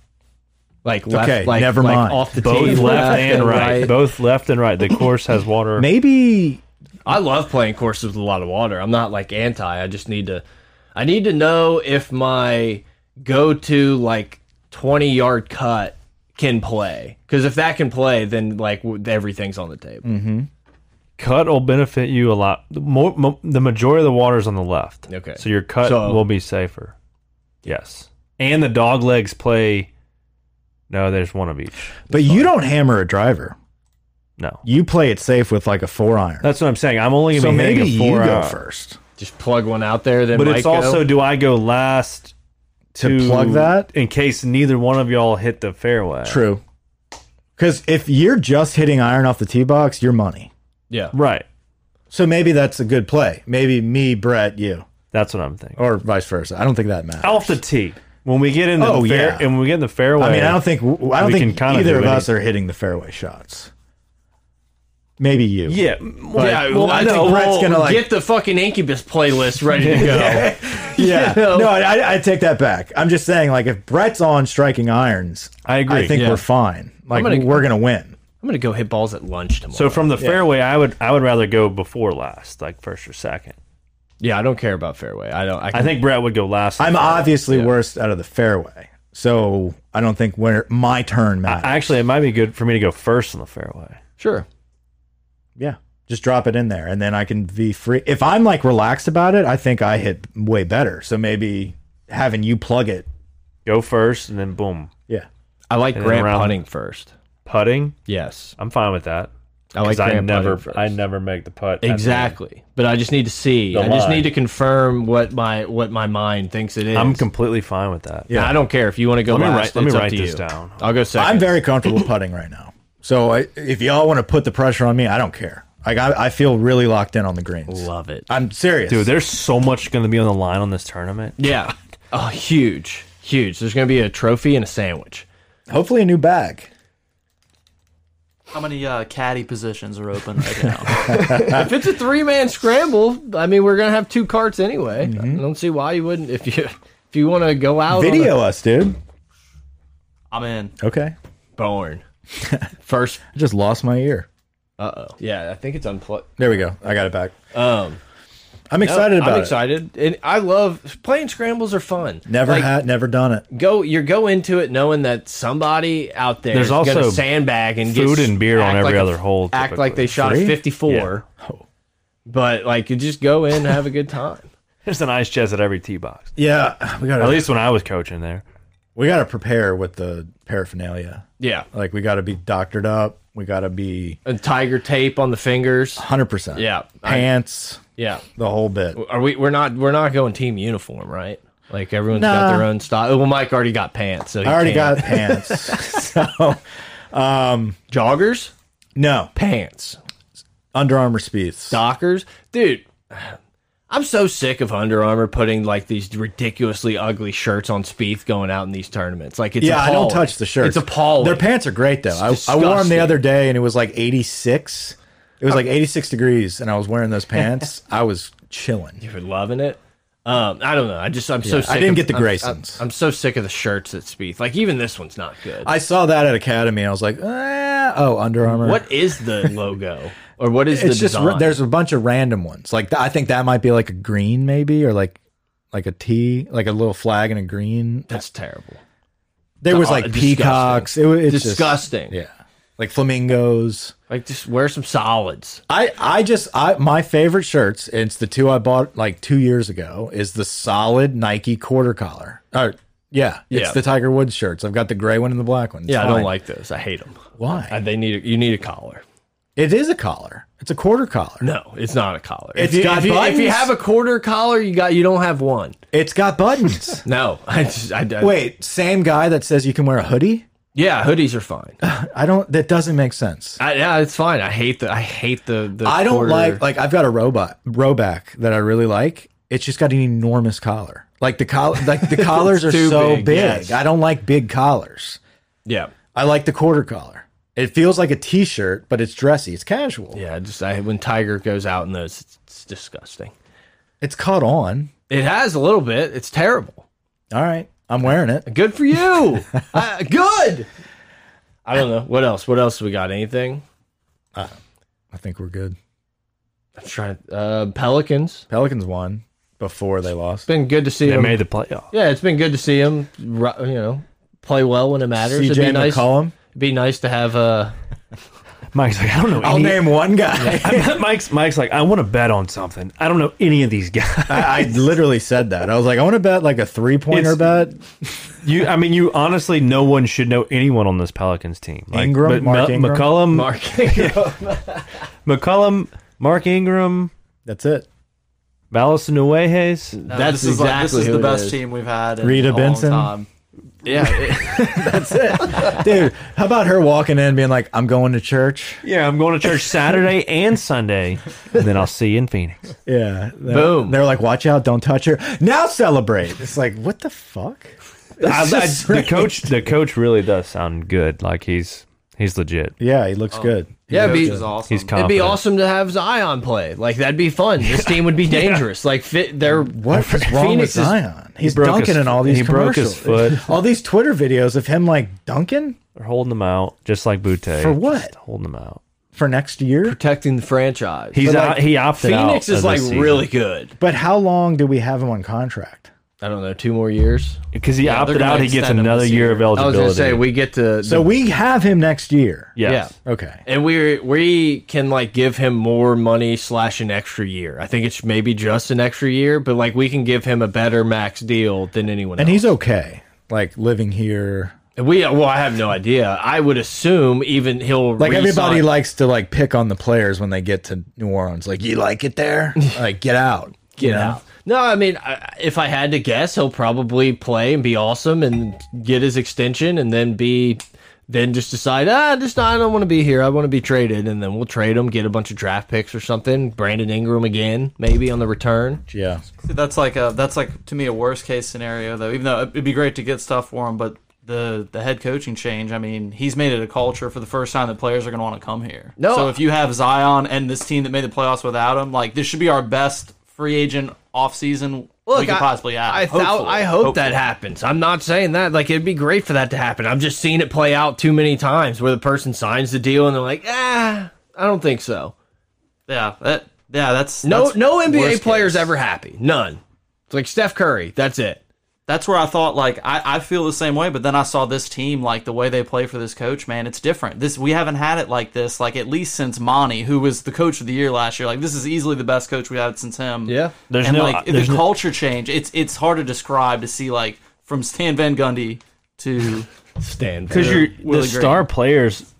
Speaker 2: Like left,
Speaker 3: Okay,
Speaker 2: like,
Speaker 3: never
Speaker 2: like,
Speaker 3: mind.
Speaker 2: off the
Speaker 4: Both
Speaker 2: tee,
Speaker 4: left, and right. Both left and right. The course has water.
Speaker 3: Maybe
Speaker 2: I love playing courses with a lot of water. I'm not like anti. I just need to I need to know if my go to like 20 yard cut can play. Cuz if that can play then like w everything's on the table.
Speaker 4: cut will benefit you a lot. The More, mo the majority of the water is on the left.
Speaker 2: Okay.
Speaker 4: So your cut
Speaker 2: So-
Speaker 4: will be safer. Yes. And the dog legs play. No, there's one of each.
Speaker 3: But you don't hammer a driver.
Speaker 4: No.
Speaker 3: You play it safe with like a four iron.
Speaker 4: That's what I'm saying. I'm only going to
Speaker 3: So
Speaker 4: be hitting
Speaker 3: maybe
Speaker 4: a
Speaker 3: you
Speaker 4: four
Speaker 3: go
Speaker 4: iron.
Speaker 3: first
Speaker 2: Just plug one out there then
Speaker 4: But
Speaker 2: Mike
Speaker 4: it's also
Speaker 2: go.
Speaker 4: do I go last
Speaker 3: to, plug that.
Speaker 4: in case neither one of y'all hit the fairway?
Speaker 3: True. Because if you're just hitting iron off the tee box, you're money.
Speaker 2: Yeah.
Speaker 4: Right.
Speaker 3: So maybe that's a good play. Maybe me, Brett, you,
Speaker 4: That's what I'm thinking.
Speaker 3: or vice versa. I don't think that matters.
Speaker 4: Off the tee. When we get in the
Speaker 3: Oh,
Speaker 4: fair,
Speaker 3: yeah.
Speaker 4: and we get in the fairway.
Speaker 3: I mean, I don't think I don't
Speaker 4: We
Speaker 3: think
Speaker 4: can kinda
Speaker 3: either of
Speaker 4: do
Speaker 3: us are hitting the fairway shots. Maybe you.
Speaker 4: Yeah.
Speaker 3: But-
Speaker 2: yeah, well, I
Speaker 3: know.
Speaker 2: think
Speaker 3: Brett's
Speaker 2: well,
Speaker 3: gonna, like-
Speaker 2: get the fucking Incubus playlist ready to go.
Speaker 3: yeah.
Speaker 2: You know?
Speaker 3: No, I, I- I take that back. I'm just saying, like, if Brett's on striking irons,
Speaker 4: I agree.
Speaker 3: I think
Speaker 2: yeah.
Speaker 3: we're fine. Like,
Speaker 2: gonna-
Speaker 3: we're gonna win.
Speaker 2: I'm going to go hit balls at lunch tomorrow.
Speaker 4: So from the fairway, I would I would rather go before last, like first or second.
Speaker 2: yeah, I don't care about fairway. I don't I,
Speaker 4: I
Speaker 2: can-
Speaker 4: think Brett would go last.
Speaker 3: I'm obviously worst out of the fairway, so I don't think where my turn matters.
Speaker 4: Actually, it might be good for me to go first on the fairway.
Speaker 2: sure.
Speaker 3: yeah, just drop it in there, and then I can be free. If I'm like relaxed about it, I think I hit way better. So maybe having you plug it,
Speaker 4: Go first, and then boom,
Speaker 3: yeah,
Speaker 2: I like
Speaker 4: And then
Speaker 2: Grant
Speaker 4: round-
Speaker 2: putting first.
Speaker 4: putting.
Speaker 2: Yes.
Speaker 4: I'm fine with that
Speaker 2: I like
Speaker 4: because
Speaker 2: Grant
Speaker 4: I never
Speaker 2: putting first.
Speaker 4: I never make the putt. at the end.
Speaker 2: Exactly. But I just need to see.
Speaker 4: The
Speaker 2: I just
Speaker 4: line.
Speaker 2: need to confirm what my what my mind thinks it is.
Speaker 4: I'm completely fine with that.
Speaker 2: I don't care if you want to go
Speaker 4: Let me
Speaker 2: last.
Speaker 4: write- let me
Speaker 2: it's up
Speaker 4: write
Speaker 2: to
Speaker 4: this
Speaker 2: you.
Speaker 4: down.
Speaker 2: I'll go 2nd
Speaker 3: I'm very comfortable putting right now. So I, if y'all want to put the pressure on me, I don't care. Like I, I feel really locked in on the greens.
Speaker 2: love it.
Speaker 3: I'm serious,
Speaker 4: Dude, there's so much going to be on the line on this tournament.
Speaker 2: yeah. Oh, huge, huge. There's going to be a trophy and a sandwich.
Speaker 3: Hopefully, a new bag.
Speaker 5: How many uh, caddy positions are open right now?
Speaker 2: if it's a three man scramble, I mean, we're going to have two carts anyway. I don't see why you wouldn't if you if you want to go out.
Speaker 3: Video us, dude.
Speaker 5: I'm in.
Speaker 3: Okay,
Speaker 2: born first.
Speaker 3: I just lost my ear.
Speaker 2: Uh oh. Yeah, I think it's unplugged.
Speaker 3: There we go. I got it back.
Speaker 2: Um,
Speaker 3: I'm excited about
Speaker 2: I'm
Speaker 3: it.
Speaker 2: excited, and I love playing scrambles. Are fun.
Speaker 3: Never
Speaker 2: Like,
Speaker 3: had, never done it.
Speaker 2: go you go into it knowing that somebody out there
Speaker 4: There's
Speaker 2: is gonna
Speaker 4: also
Speaker 2: sandbag and
Speaker 4: food
Speaker 2: gets-
Speaker 4: and beer on
Speaker 2: act
Speaker 4: every
Speaker 2: like a-
Speaker 4: other hole,
Speaker 2: act like they
Speaker 4: typically.
Speaker 2: shot
Speaker 3: Free?
Speaker 2: a 54
Speaker 3: Oh.
Speaker 2: but like you just go in and have a good time
Speaker 4: There's an ice chest at every tee box.
Speaker 3: Yeah, we gotta
Speaker 4: At least when I was coaching there.
Speaker 3: we gotta prepare with the paraphernalia.
Speaker 2: yeah
Speaker 3: Like we gotta be doctored up. We gotta be
Speaker 2: and tiger tape on the fingers
Speaker 3: 100. percent
Speaker 2: Yeah, I-
Speaker 3: pants,
Speaker 2: yeah
Speaker 3: the whole bit.
Speaker 2: are we we're not we're not going team uniform right like everyone's got
Speaker 3: Nah.
Speaker 2: their own style well mike already got pants so he
Speaker 3: I already
Speaker 2: can't.
Speaker 3: got pants. so
Speaker 2: joggers
Speaker 3: no
Speaker 2: pants
Speaker 3: Under Armour speeds.
Speaker 2: Dockers, dude. I'm so sick of Under Armour putting like these ridiculously ugly shirts on Spieth going out in these tournaments. Like it's
Speaker 3: Yeah, I don't
Speaker 2: appalling.
Speaker 3: touch the shirts.
Speaker 2: It's appalling.
Speaker 3: Their pants are great though. I, I wore them
Speaker 2: disgusting.
Speaker 3: the other day and it was like 86. It was like 86 degrees and I was wearing those pants. I was chilling.
Speaker 2: You were loving it. Um, I don't know. I just I'm so. sick
Speaker 3: I didn't
Speaker 2: of-
Speaker 3: get the
Speaker 2: I'm-
Speaker 3: Graysons.
Speaker 2: I'm, I'm so sick of the shirts that Spieth. Like even this one's not good.
Speaker 3: I saw that at Academy and I was like, eh, oh, Under Armour.
Speaker 2: what is the logo or what is
Speaker 3: it's
Speaker 2: the
Speaker 3: just
Speaker 2: design?
Speaker 3: ra- there's a bunch of random ones. Like th- I think that might be like a green maybe or like like a T, like a little flag and a green.
Speaker 2: That's terrible.
Speaker 3: There was
Speaker 2: Uh,
Speaker 3: like
Speaker 2: disgusting.
Speaker 3: peacocks. It, wa- it's just-
Speaker 2: Disgusting.
Speaker 3: yeah. Like flamingos.
Speaker 2: Like just wear some solids.
Speaker 3: I I just I my favorite shirts. It's the two I bought like two years ago. Is the solid Nike quarter collar. Or yeah, it's
Speaker 2: Yeah.
Speaker 3: the Tiger Woods shirts. I've got the gray one and the black one. It's
Speaker 2: Yeah, I don't
Speaker 3: fine.
Speaker 2: like those. I hate them.
Speaker 3: Why?
Speaker 2: I, Uh, they need a, you need a collar.
Speaker 3: it is a collar. It's a quarter collar.
Speaker 2: No, it's not a collar.
Speaker 3: It's
Speaker 2: if you,
Speaker 3: got
Speaker 2: if you, if you
Speaker 3: buttons.
Speaker 2: have a quarter collar, you got you don't have one.
Speaker 3: It's got buttons.
Speaker 2: No, I just I, I
Speaker 3: Wait, same guy that says you can wear a hoodie.
Speaker 2: Yeah, hoodies are fine.
Speaker 3: I don't. That doesn't make sense.
Speaker 2: I, yeah, it's fine. I hate the I hate the the.
Speaker 3: I don't
Speaker 2: quarter-
Speaker 3: like like I've got a robot rowback that I really like. It's just got an enormous collar. Like the collar, like the collars are
Speaker 2: too
Speaker 3: so
Speaker 2: big,
Speaker 3: big.
Speaker 2: yes.
Speaker 3: I don't like big collars.
Speaker 2: Yeah,
Speaker 3: I like the quarter collar. It feels like a t-shirt, but it's dressy. It's casual.
Speaker 2: yeah. Just I, when Tiger goes out in those, it's, it's disgusting.
Speaker 3: It's caught on.
Speaker 2: It has a little bit. It's terrible.
Speaker 3: All right, I'm wearing it.
Speaker 2: Good for you. I, good. I don't know what else. What else we got? Anything?
Speaker 3: I think we're good.
Speaker 2: I'm trying. To, uh, Pelicans.
Speaker 3: Pelicans won before they lost.
Speaker 2: Been good to see
Speaker 4: They
Speaker 2: them.
Speaker 4: made the playoff.
Speaker 2: yeah, it's been good to see him. You know, play well when it matters. It'd be
Speaker 3: CJ
Speaker 2: nice.
Speaker 3: McCollum.
Speaker 2: It'd be nice to have uh,
Speaker 4: Mike's like, I don't know.
Speaker 3: I'll
Speaker 4: any-
Speaker 3: name one guy.
Speaker 4: Mike's Mike's like, I want to bet on something. I don't know any of these guys.
Speaker 3: I, I literally said that. I was like, I want to bet like a three-pointer
Speaker 4: It's-
Speaker 3: bet.
Speaker 4: You, I mean, you honestly, no one should know anyone on this Pelicans team. Like,
Speaker 3: Ingram,
Speaker 4: but
Speaker 3: Mark
Speaker 4: Ma-
Speaker 3: Ingram.
Speaker 4: McCollum,
Speaker 2: Mark.
Speaker 4: McCollum, Mark Ingram,
Speaker 3: That's it.
Speaker 4: Ballison Nueces.
Speaker 5: No,
Speaker 2: That's
Speaker 5: this is like- this
Speaker 2: exactly
Speaker 5: is
Speaker 2: who
Speaker 5: the
Speaker 2: it
Speaker 5: best
Speaker 2: is.
Speaker 5: team we've had. In
Speaker 3: Rita
Speaker 5: a long
Speaker 3: Benson?
Speaker 5: time.
Speaker 2: yeah,
Speaker 3: Dude, how about her walking in being like, I'm going to church?
Speaker 4: Yeah, I'm going to church Saturday and Sunday, and then I'll see you in Phoenix.
Speaker 3: Yeah. They're,
Speaker 2: Boom.
Speaker 3: They're like, watch out, don't touch her. Now celebrate. It's like, what the fuck?
Speaker 4: I- I-
Speaker 3: just
Speaker 4: the
Speaker 3: strange.
Speaker 4: coach, the coach really does sound good. Like he's he's legit.
Speaker 3: Yeah, he
Speaker 2: Oh.
Speaker 3: looks good.
Speaker 2: yeah. it'd
Speaker 5: Coach
Speaker 2: be-
Speaker 5: is awesome.
Speaker 4: He's
Speaker 2: It'd
Speaker 4: confident.
Speaker 2: be awesome to have Zion play. Like that'd be fun. This team would be dangerous. Like fit they're
Speaker 3: What is wrong
Speaker 2: Phoenix
Speaker 3: with
Speaker 2: is-
Speaker 3: Zion? He's
Speaker 4: broke
Speaker 3: dunking
Speaker 4: his-
Speaker 3: in all these
Speaker 4: he broke his
Speaker 3: commercials.
Speaker 4: foot.
Speaker 3: all these Twitter videos of him like dunking
Speaker 4: They're holding them out just like Butte.
Speaker 3: For what?
Speaker 4: Just holding them out.
Speaker 3: for next year.
Speaker 2: protecting the franchise.
Speaker 4: He's
Speaker 3: But,
Speaker 4: out,
Speaker 3: like,
Speaker 4: he opted out.
Speaker 2: Phoenix is like really good.
Speaker 3: But how long do we have him on contract?
Speaker 2: I don't know, two more years.
Speaker 4: because he
Speaker 5: they're
Speaker 4: opted
Speaker 5: gonna
Speaker 4: out. He gets
Speaker 5: extend him
Speaker 4: another
Speaker 5: this
Speaker 4: year
Speaker 5: year.
Speaker 4: of
Speaker 2: I was
Speaker 4: eligibility.
Speaker 2: gonna say we get to
Speaker 3: So we have him next year.
Speaker 4: yes.
Speaker 2: yeah.
Speaker 3: Okay.
Speaker 2: And we we can like give him more money slash an extra year. I think it's maybe just an extra year, but like we can give him a better max deal than anyone
Speaker 3: And
Speaker 2: else.
Speaker 3: he's okay. Like living here.
Speaker 2: we well, I have no idea. I would assume even he'll
Speaker 3: Like everybody
Speaker 2: resign-
Speaker 3: likes to like pick on the players when they get to New Orleans. Like, you like it there? like, get out.
Speaker 2: get
Speaker 3: You know?
Speaker 2: out. No, I mean, I, if I had to guess, he'll probably play and be awesome and get his extension, and then be, then just decide, ah, just I don't want to be here. I want to be traded, and then we'll trade him, get a bunch of draft picks or something. Brandon Ingram again, maybe on the return.
Speaker 3: Yeah.
Speaker 5: See, that's like a that's like to me a worst case scenario though. Even though it'd be great to get stuff for him, but the the head coaching change. I mean, he's made it a culture for the first time that players are going to want to come here.
Speaker 2: No.
Speaker 5: So if you have Zion and this team that made the playoffs without him, like this should be our best free agent offseason we could
Speaker 2: I-
Speaker 5: possibly have.
Speaker 2: I, thou-
Speaker 5: Hopefully.
Speaker 2: I hope
Speaker 5: Hopefully.
Speaker 2: that happens. I'm not saying that. Like, it'd be great for that to happen. I'm just seeing it play out too many times where the person signs the deal and they're like, ah, I don't think so.
Speaker 5: Yeah. That, yeah. That's
Speaker 2: No,
Speaker 5: that's
Speaker 2: no NBA
Speaker 5: worst
Speaker 2: player's
Speaker 5: case.
Speaker 2: ever happy. None. It's like Steph Curry. That's it.
Speaker 5: that's where I thought like I, I feel the same way, but then I saw this team like the way they play for this coach, man, it's different. This we haven't had it like this like at least since Monty, who was the coach of the year last year. Like this is easily the best coach we had since him.
Speaker 2: Yeah.
Speaker 4: There's
Speaker 5: and
Speaker 4: no-
Speaker 5: like
Speaker 4: there's
Speaker 5: the
Speaker 4: no-
Speaker 5: culture change. It's it's hard to describe to see like from Stan Van Gundy to
Speaker 2: Stand.
Speaker 4: because
Speaker 2: there.
Speaker 4: you're
Speaker 5: Willie
Speaker 4: the
Speaker 5: Green.
Speaker 4: star players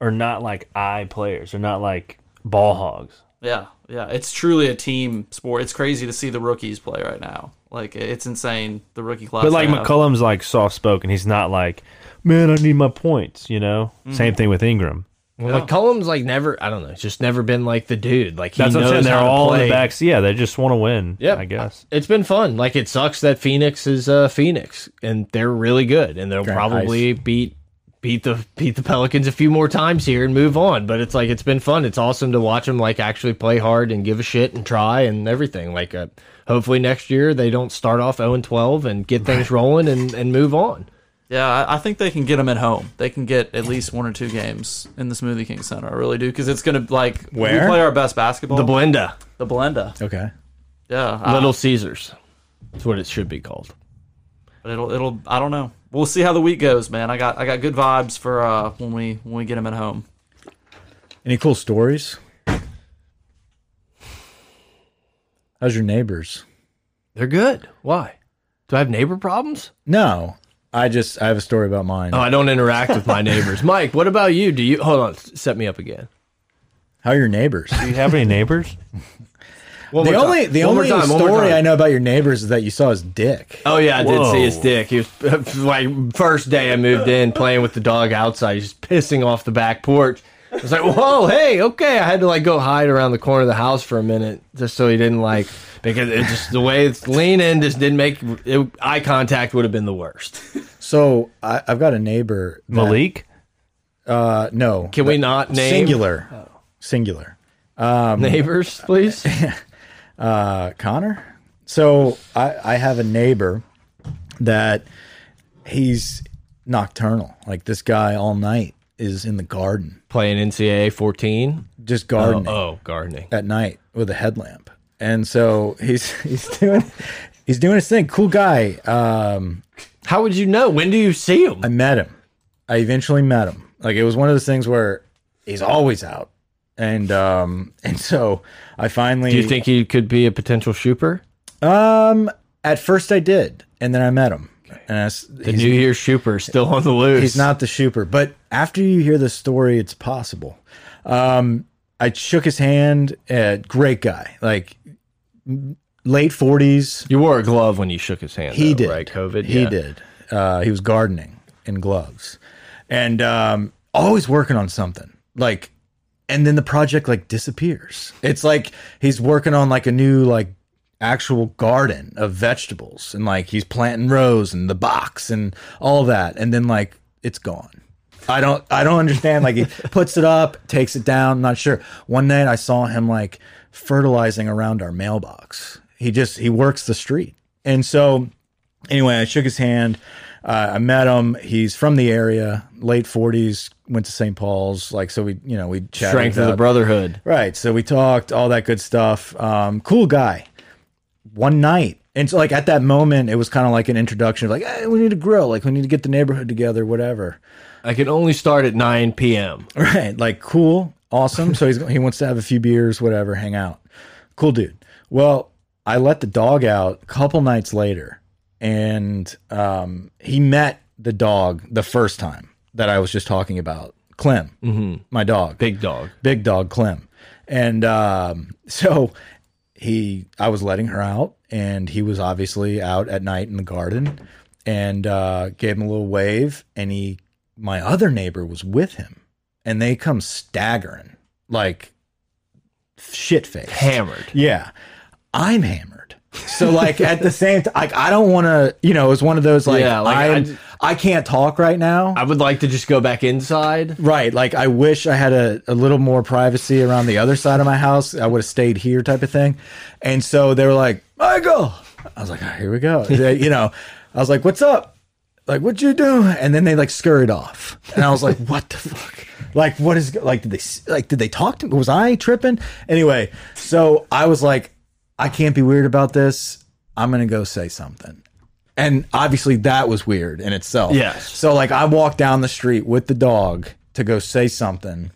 Speaker 4: are not like I players. They're not like ball hogs.
Speaker 5: yeah yeah. It's truly a team sport. It's crazy to see the rookies play right now. Like it's insane the rookie class.
Speaker 4: But like
Speaker 5: they have.
Speaker 4: McCollum's like soft spoken. He's not like, man, I need my points. You know. Same thing with Ingram.
Speaker 2: Well, McCollum's like never. I don't know. It's just never been like the dude. Like he
Speaker 4: That's what I'm
Speaker 2: knows
Speaker 4: saying. They're
Speaker 2: how to
Speaker 4: all
Speaker 2: play.
Speaker 4: in the back. Yeah, they just want to win.
Speaker 2: Yep.
Speaker 4: I guess.
Speaker 2: It's been fun. Like it sucks that Phoenix is uh, Phoenix, and they're really good, and they'll probably beat beat the beat the Pelicans a few more times here and move on. But it's like it's been fun. It's awesome to watch them like actually play hard and give a shit and try and everything. Like uh, hopefully next year they don't start off 0 and 12 and get things rolling and and move on.
Speaker 5: Yeah, I, I think they can get them at home. They can get at least one or two games in the Smoothie King Center. I really do because it's gonna like
Speaker 3: Where?
Speaker 5: we play our best basketball.
Speaker 2: The Blenda,
Speaker 5: the Blenda.
Speaker 3: Okay.
Speaker 5: Yeah, I-
Speaker 2: Little Caesars. That's what it should be called.
Speaker 5: it'll it'll. I don't know. We'll see how the week goes, man. I got I got good vibes for uh, when we when we get them at home.
Speaker 3: Any cool stories? How's your neighbors?
Speaker 2: They're good. Why? Do I have neighbor problems?
Speaker 3: No, I just I have a story about mine.
Speaker 2: Oh, I don't interact with my neighbors. Mike, what about you? Do you hold on? Set me up again.
Speaker 3: How are your neighbors?
Speaker 4: Do you have any neighbors?
Speaker 2: One
Speaker 3: the
Speaker 2: more time.
Speaker 3: only the
Speaker 2: One more
Speaker 3: only
Speaker 2: time, one more
Speaker 3: story
Speaker 2: time.
Speaker 3: I know about your neighbors is that you saw his dick.
Speaker 2: Oh yeah, I did
Speaker 4: Whoa.
Speaker 2: see his dick. He was like first day I moved in, playing with the dog outside, he's just pissing off the back porch. I was like, whoa, hey, okay. I had to like go hide around the corner of the house for a minute just so he didn't like because it just the way it's leaning just didn't make it, eye contact would have been the worst.
Speaker 3: So I, I've got a neighbor. that-
Speaker 4: Malik.
Speaker 3: Uh, no.
Speaker 2: Can we not name Oh.
Speaker 3: singular? Singular.
Speaker 2: neighbors, please?
Speaker 3: uh, Connor. So I, I have a neighbor that he's nocturnal. Like this guy all night is in the garden,
Speaker 2: Playing NCAA 14.
Speaker 3: just gardening
Speaker 2: Oh, gardening.
Speaker 3: at night with a headlamp. And so he's he's doing he's doing his thing. Cool guy. Um,
Speaker 2: How would you know? When do you see him?
Speaker 3: I met him. I eventually met him. Like it was one of those things where he's always out. And um and so I finally
Speaker 2: Do you think he could be a potential shooper?
Speaker 3: um at first I did and then I met him and I, s-
Speaker 2: The
Speaker 3: he's-
Speaker 2: New Year's shooper is still on the loose.
Speaker 3: He's not the shooper, but after you hear the story, it's possible. Um, I shook his hand. Uh, great guy, like m- late forties.
Speaker 2: You wore a glove when you shook his hand.
Speaker 3: He
Speaker 2: though,
Speaker 3: did.
Speaker 2: right? COVID.
Speaker 3: He
Speaker 2: Yeah.
Speaker 3: did. Uh, he was gardening in gloves, and um, always working on something. Like, and then the project like disappears. It's like he's working on like a new like actual garden of vegetables, and like he's planting rows and the box and all that, and then like it's gone. I don't I don't understand. Like he puts it up, takes it down. I'm not sure. One night I saw him like fertilizing around our mailbox. He just he works the street, and so anyway, I shook his hand. Uh, I met him. He's from the area, late forties. Went to St. Paul's, like so. We, you know, we chatted
Speaker 2: Strength of the
Speaker 3: up.
Speaker 2: brotherhood.
Speaker 3: Right. So we talked, all that good stuff. Um, cool guy. One night. And so like at that moment, it was kind of like an introduction of like, hey, we need to grow, like we need to get the neighborhood together, whatever.
Speaker 2: I can only start at 9 p.m.
Speaker 3: Right. Like cool, awesome. so he's he wants to have a few beers, whatever, hang out. Cool dude. Well, I let the dog out a couple nights later, and um, he met the dog the first time that I was just talking about, Clem, my dog
Speaker 2: Big dog.
Speaker 3: big dog Clem. And um, so he, I was letting her out, and he was obviously out at night in the garden, and uh, gave him a little wave. And he, my other neighbor was with him, and they come staggering like shit faced,
Speaker 2: Hammered.
Speaker 3: yeah, I'm hammered. So like at the same time, like I don't want to, you know, it's one of those like,
Speaker 2: Yeah, like, I
Speaker 3: I'm-
Speaker 2: d-
Speaker 3: I can't talk right now.
Speaker 2: I would like to just go back inside.
Speaker 3: Right. Like I wish I had a, a little more privacy around the other side of my house. I would have stayed here type of thing. And so they were like, Michael. I was like, "Oh, here we go. They- you know, I was like, what's up? Like, what you do? And then they like scurried off. And I was like, what the fuck? Like, what is like, did they, s- like, did they talk to me? Was I tripping? Anyway. So I was like, I can't be weird about this. I'm going to go say something. And obviously that was weird in itself.
Speaker 2: Yes.
Speaker 3: So like I walked down the street with the dog to go say something.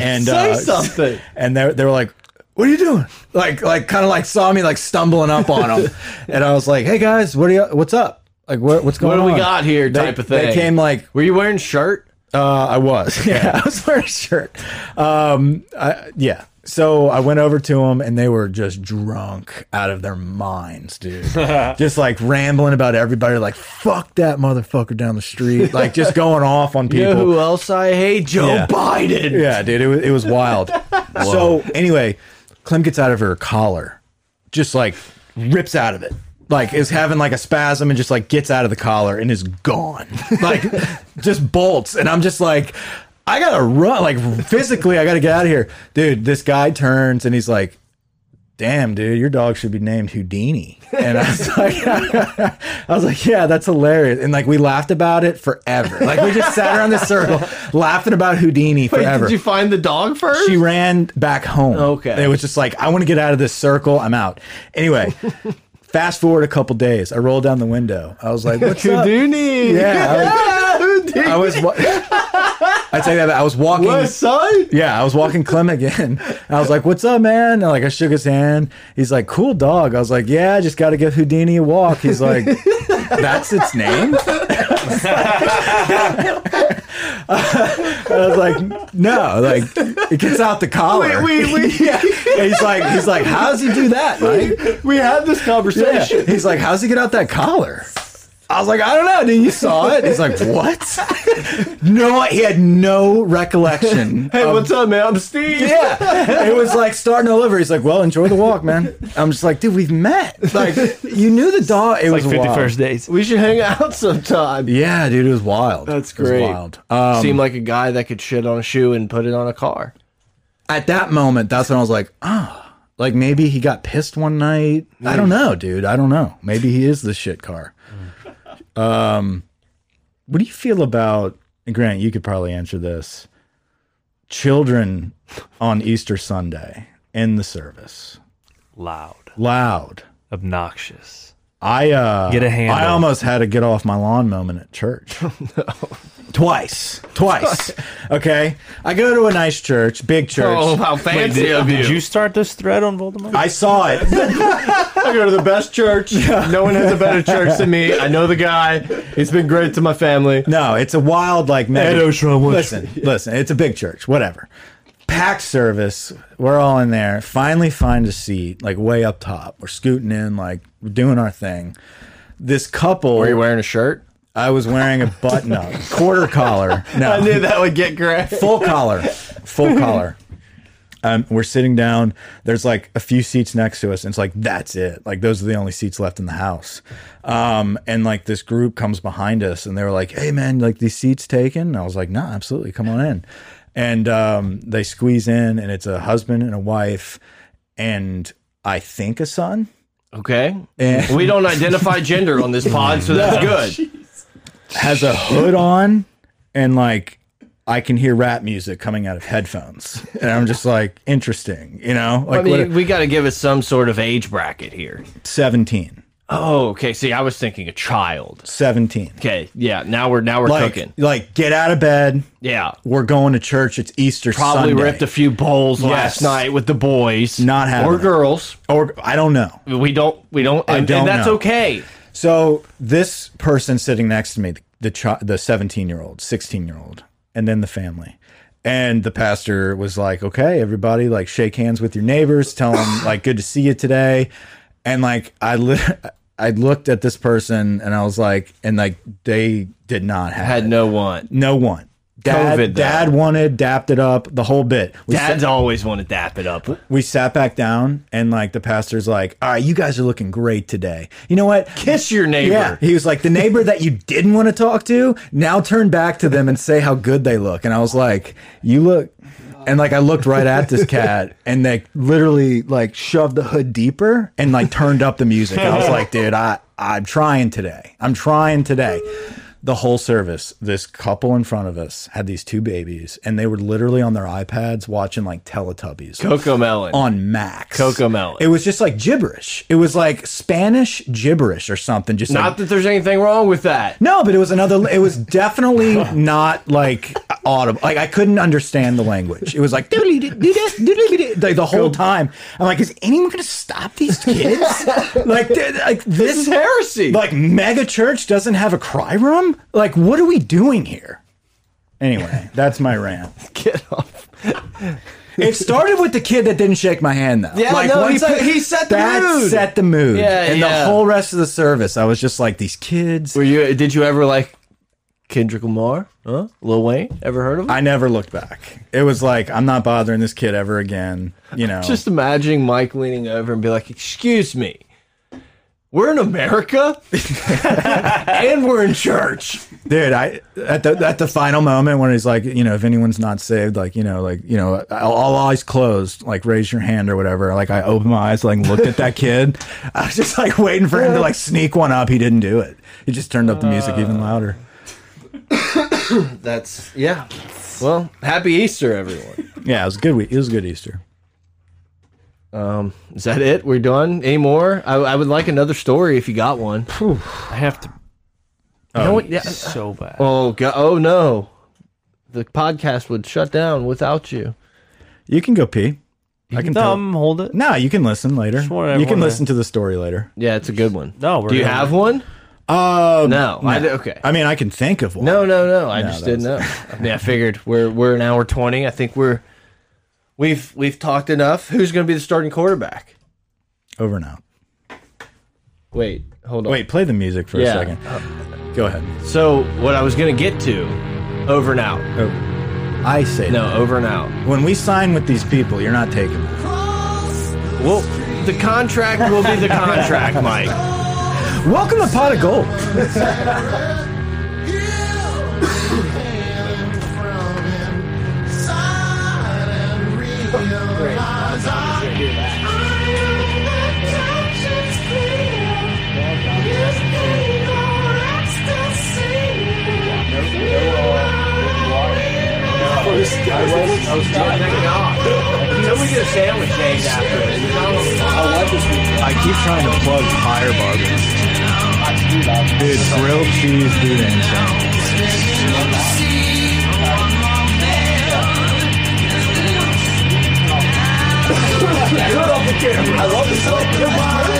Speaker 3: And uh,
Speaker 2: something.
Speaker 3: And they they were like, "What are you doing?" Like like kind of like saw me like stumbling up on them. and I was like, "Hey guys, what are you what's up?" Like what, what's going
Speaker 2: What
Speaker 3: on?
Speaker 2: do we got here?
Speaker 3: They-
Speaker 2: Type of thing.
Speaker 3: They came like
Speaker 2: Were you wearing shirt?
Speaker 3: uh, I was. Yeah, I was wearing a shirt. Um, I, yeah. So I went over to them and they were just drunk out of their minds, dude. just like rambling about everybody, like, fuck that motherfucker down the street. Like just going off on
Speaker 2: You
Speaker 3: people.
Speaker 2: know who else I hate? Joe
Speaker 3: Yeah.
Speaker 2: Biden.
Speaker 3: Yeah, dude, it was, it was wild. so anyway, Clem gets out of her collar, just like rips out of it, like is having like a spasm and just like gets out of the collar and is gone, like just bolts. And I'm just like, I gotta run, like physically, I gotta get out of here, dude. This guy turns and he's like. Damn, dude, your dog should be named Houdini. And I was like, I was like, yeah, that's hilarious. And like, we laughed about it forever. Like, we just sat around the circle laughing about Houdini
Speaker 2: Wait,
Speaker 3: forever
Speaker 2: did you find the dog first?
Speaker 3: she ran back home.
Speaker 2: Okay.
Speaker 3: It was just like, I want to get out of this circle. I'm out. Anyway, fast forward a couple days. I rolled down the window. I was like, what's up?
Speaker 2: Houdini.
Speaker 3: Yeah.
Speaker 2: Houdini.
Speaker 3: I was, I was wa- I take that back. I was walking.
Speaker 2: West side?
Speaker 3: Yeah, I was walking Clem again. I was like, "What's up, man?" And like I shook his hand. He's like, "Cool dog." I was like, "Yeah, I just got to give Houdini a walk." He's like, "That's its name." I was like, no, like it gets out the collar.
Speaker 2: Wait, wait,
Speaker 3: yeah. And he's like, he's like, how does he do that, Mike?
Speaker 2: We had this
Speaker 3: Yeah.
Speaker 2: conversation.
Speaker 3: He's like, how's he get out that collar? I was like, I don't know. Then you saw it. He's like, what? no, he had no recollection.
Speaker 2: Hey, what's up, man? I'm Steve.
Speaker 3: yeah, it was like starting all over. He's like, well, enjoy the walk, man. I'm just like, dude, we've met. Like, you knew the dog. It was
Speaker 4: Like fifty
Speaker 3: wild.
Speaker 4: first dates.
Speaker 2: We should hang out sometime.
Speaker 3: Yeah, dude, it was wild.
Speaker 2: That's
Speaker 3: It was
Speaker 2: great.
Speaker 3: wild. Um,
Speaker 2: Seemed like a guy that could shit on a shoe and put it on a car.
Speaker 3: at that moment, that's when I was like, ah, like maybe he got pissed one night. I don't know, dude. I don't know. Maybe he is the shit car. Um,
Speaker 4: Mm.
Speaker 3: what do you feel about? and Grant, you could probably answer this. Children on Easter Sunday in the service,
Speaker 4: Loud,
Speaker 3: loud.
Speaker 4: obnoxious.
Speaker 3: I uh,
Speaker 4: Get a handle. Oh,
Speaker 3: I almost had a get off my lawn moment at church. Twice, twice. okay, I go to a nice church, big church.
Speaker 2: Oh,
Speaker 4: Oh.
Speaker 2: how fancy of
Speaker 4: Did you start this thread on Voldemort?
Speaker 3: I saw it.
Speaker 2: I go to the best church. No one has a better church than me. I know the guy. He's been great to my family.
Speaker 3: No, it's a wild like mega.
Speaker 4: Ed Ogeron wants-
Speaker 3: listen, listen, it's a big church, whatever. Packed service, we're all in there. Finally, find a seat like way up top. We're scooting in, like we're doing our thing. This couple,
Speaker 2: Are you wearing a shirt?
Speaker 3: I was wearing a button up, quarter collar. No,
Speaker 2: that would get great.
Speaker 3: full collar, full collar. Um, we're sitting down. There's like a few seats next to us, and it's like that's it. Like those are the only seats left in the house. Um, and like this group comes behind us, and they were like, "Hey, man, like these seats taken?" And I was like, "No, absolutely, come on in." And um, they squeeze in, and it's a husband and a wife, and I think a son.
Speaker 2: Okay.
Speaker 3: And-
Speaker 2: We don't identify gender on this pod, so that's good.
Speaker 3: has a hood on and like I can hear rap music coming out of headphones. And I'm just like, interesting, you know? Like
Speaker 2: I
Speaker 3: what
Speaker 2: mean, we got to give it some sort of age bracket here.
Speaker 3: 17.
Speaker 2: Oh, okay. See, I was thinking a child.
Speaker 3: 17.
Speaker 2: Okay. Yeah. Now we're now we're
Speaker 3: Like,
Speaker 2: cooking.
Speaker 3: like get out of bed.
Speaker 2: Yeah.
Speaker 3: We're going to church. It's Easter
Speaker 2: Probably
Speaker 3: Sunday.
Speaker 2: ripped a few bowls last
Speaker 3: Yes.
Speaker 2: night with the boys.
Speaker 3: Not having
Speaker 2: or
Speaker 3: it.
Speaker 2: girls.
Speaker 3: or I don't know.
Speaker 2: We don't. We don't. And, and
Speaker 3: don't
Speaker 2: that's
Speaker 3: know.
Speaker 2: okay.
Speaker 3: So this person sitting next to me, the the, chi- the 17 year old, 16 year old, and then the family. And the pastor was like, "Okay, everybody, like shake hands with your neighbors, tell them like good to see you today." And like I li- I looked at this person and I was like, and like they did not have
Speaker 2: Had
Speaker 3: it.
Speaker 2: no one.
Speaker 3: no one. Dad,
Speaker 2: COVID, though.
Speaker 3: dad wanted, dapped it up, the whole bit. We sat-
Speaker 2: Dads always want to dap it up.
Speaker 3: we sat back down and like the pastor's like, all right, you guys are looking great today. You know what?
Speaker 2: Kiss your neighbor.
Speaker 3: Yeah. He was like, the neighbor that you didn't want to talk to, now turn back to them and say how good they look. And I was like, you look. And like I looked right at this cat and they literally like shoved the hood deeper and like turned up the music. I was like, dude, I, I'm trying today. I'm trying today. The whole service, this couple in front of us had these two babies and they were literally on their iPads watching like Teletubbies
Speaker 2: Coco Melon.
Speaker 3: on max
Speaker 2: Coco Melon.
Speaker 3: It was just like gibberish. It was like Spanish gibberish or something. Just like,
Speaker 2: Not that there's anything wrong with that.
Speaker 3: no, but it was another. It was definitely not like audible. Like I couldn't understand the language. It was like like, the whole time. I'm like, is anyone going to stop these kids? Like, they're- like
Speaker 2: This is
Speaker 3: this.
Speaker 2: heresy.
Speaker 3: Like mega church doesn't have a cry room. Like, what are we doing here? Anyway, that's my rant.
Speaker 2: Get off.
Speaker 3: It started with the kid that didn't shake my hand though.
Speaker 2: Yeah, no,
Speaker 3: when
Speaker 2: it's like, he set the
Speaker 3: that
Speaker 2: mood.
Speaker 3: set the mood.
Speaker 2: Yeah,
Speaker 3: and
Speaker 2: yeah.
Speaker 3: the whole rest of the service, I was just like these kids.
Speaker 2: Were you? Did you ever like Kendrick Lamar? Huh? Lil Wayne? Ever heard of him?
Speaker 3: I never looked back. It was like I'm not bothering this kid ever again. You know,
Speaker 2: Just imagining Mike leaning over and be like, "Excuse me, we're in America, and we're in church."
Speaker 3: dude. I at the at the final moment when he's like, you know, if anyone's not saved, like you know, like you know, all, all eyes closed, like raise your hand or whatever. Like I opened my eyes, like looked at that kid. I was just like waiting for him to like sneak one up. He didn't do it. He just turned up the music even louder.
Speaker 2: That's yeah. Well, happy Easter, everyone.
Speaker 3: Yeah, it was a good week. It was a good Easter.
Speaker 2: Is that it? We're done. Any more? I, I would like another story if you got one.
Speaker 4: I have to Oh.
Speaker 2: You know what? Yeah.
Speaker 4: so bad.
Speaker 2: Oh god. Oh no. The podcast would shut down without you.
Speaker 3: You can go pee. I can tell.
Speaker 4: Thumb, hold it.
Speaker 3: No, you can listen later.
Speaker 4: wanted
Speaker 3: You
Speaker 4: everyone
Speaker 3: can
Speaker 4: to-
Speaker 3: listen to the story later.
Speaker 2: Yeah, it's a good one.
Speaker 4: No, we're
Speaker 2: Do you
Speaker 4: gonna-
Speaker 2: have one?
Speaker 6: Um,
Speaker 2: No, I d- okay.
Speaker 6: I mean, I can think of one.
Speaker 2: No, no, no. I
Speaker 6: No,
Speaker 2: just
Speaker 6: that
Speaker 2: didn't know. I mean, I figured we're we're an hour twenty. I think we're we've we've talked enough. Who's going to be the starting quarterback?
Speaker 6: Over and out.
Speaker 2: Wait, hold on.
Speaker 6: Wait, play the music for
Speaker 2: Yeah.
Speaker 6: a second. Go ahead.
Speaker 2: So what I was going to get to, over and out.
Speaker 6: Oh, I say
Speaker 2: No, over and out.
Speaker 6: that. When we sign with these people, you're not taking them.
Speaker 2: Well, the contract will be the contract, Mike.
Speaker 6: Welcome to Pot of Gold. Oh, I keep trying to plug higher bargains. Dude, grilled cheese, dude, and sandwich.
Speaker 7: I love the song.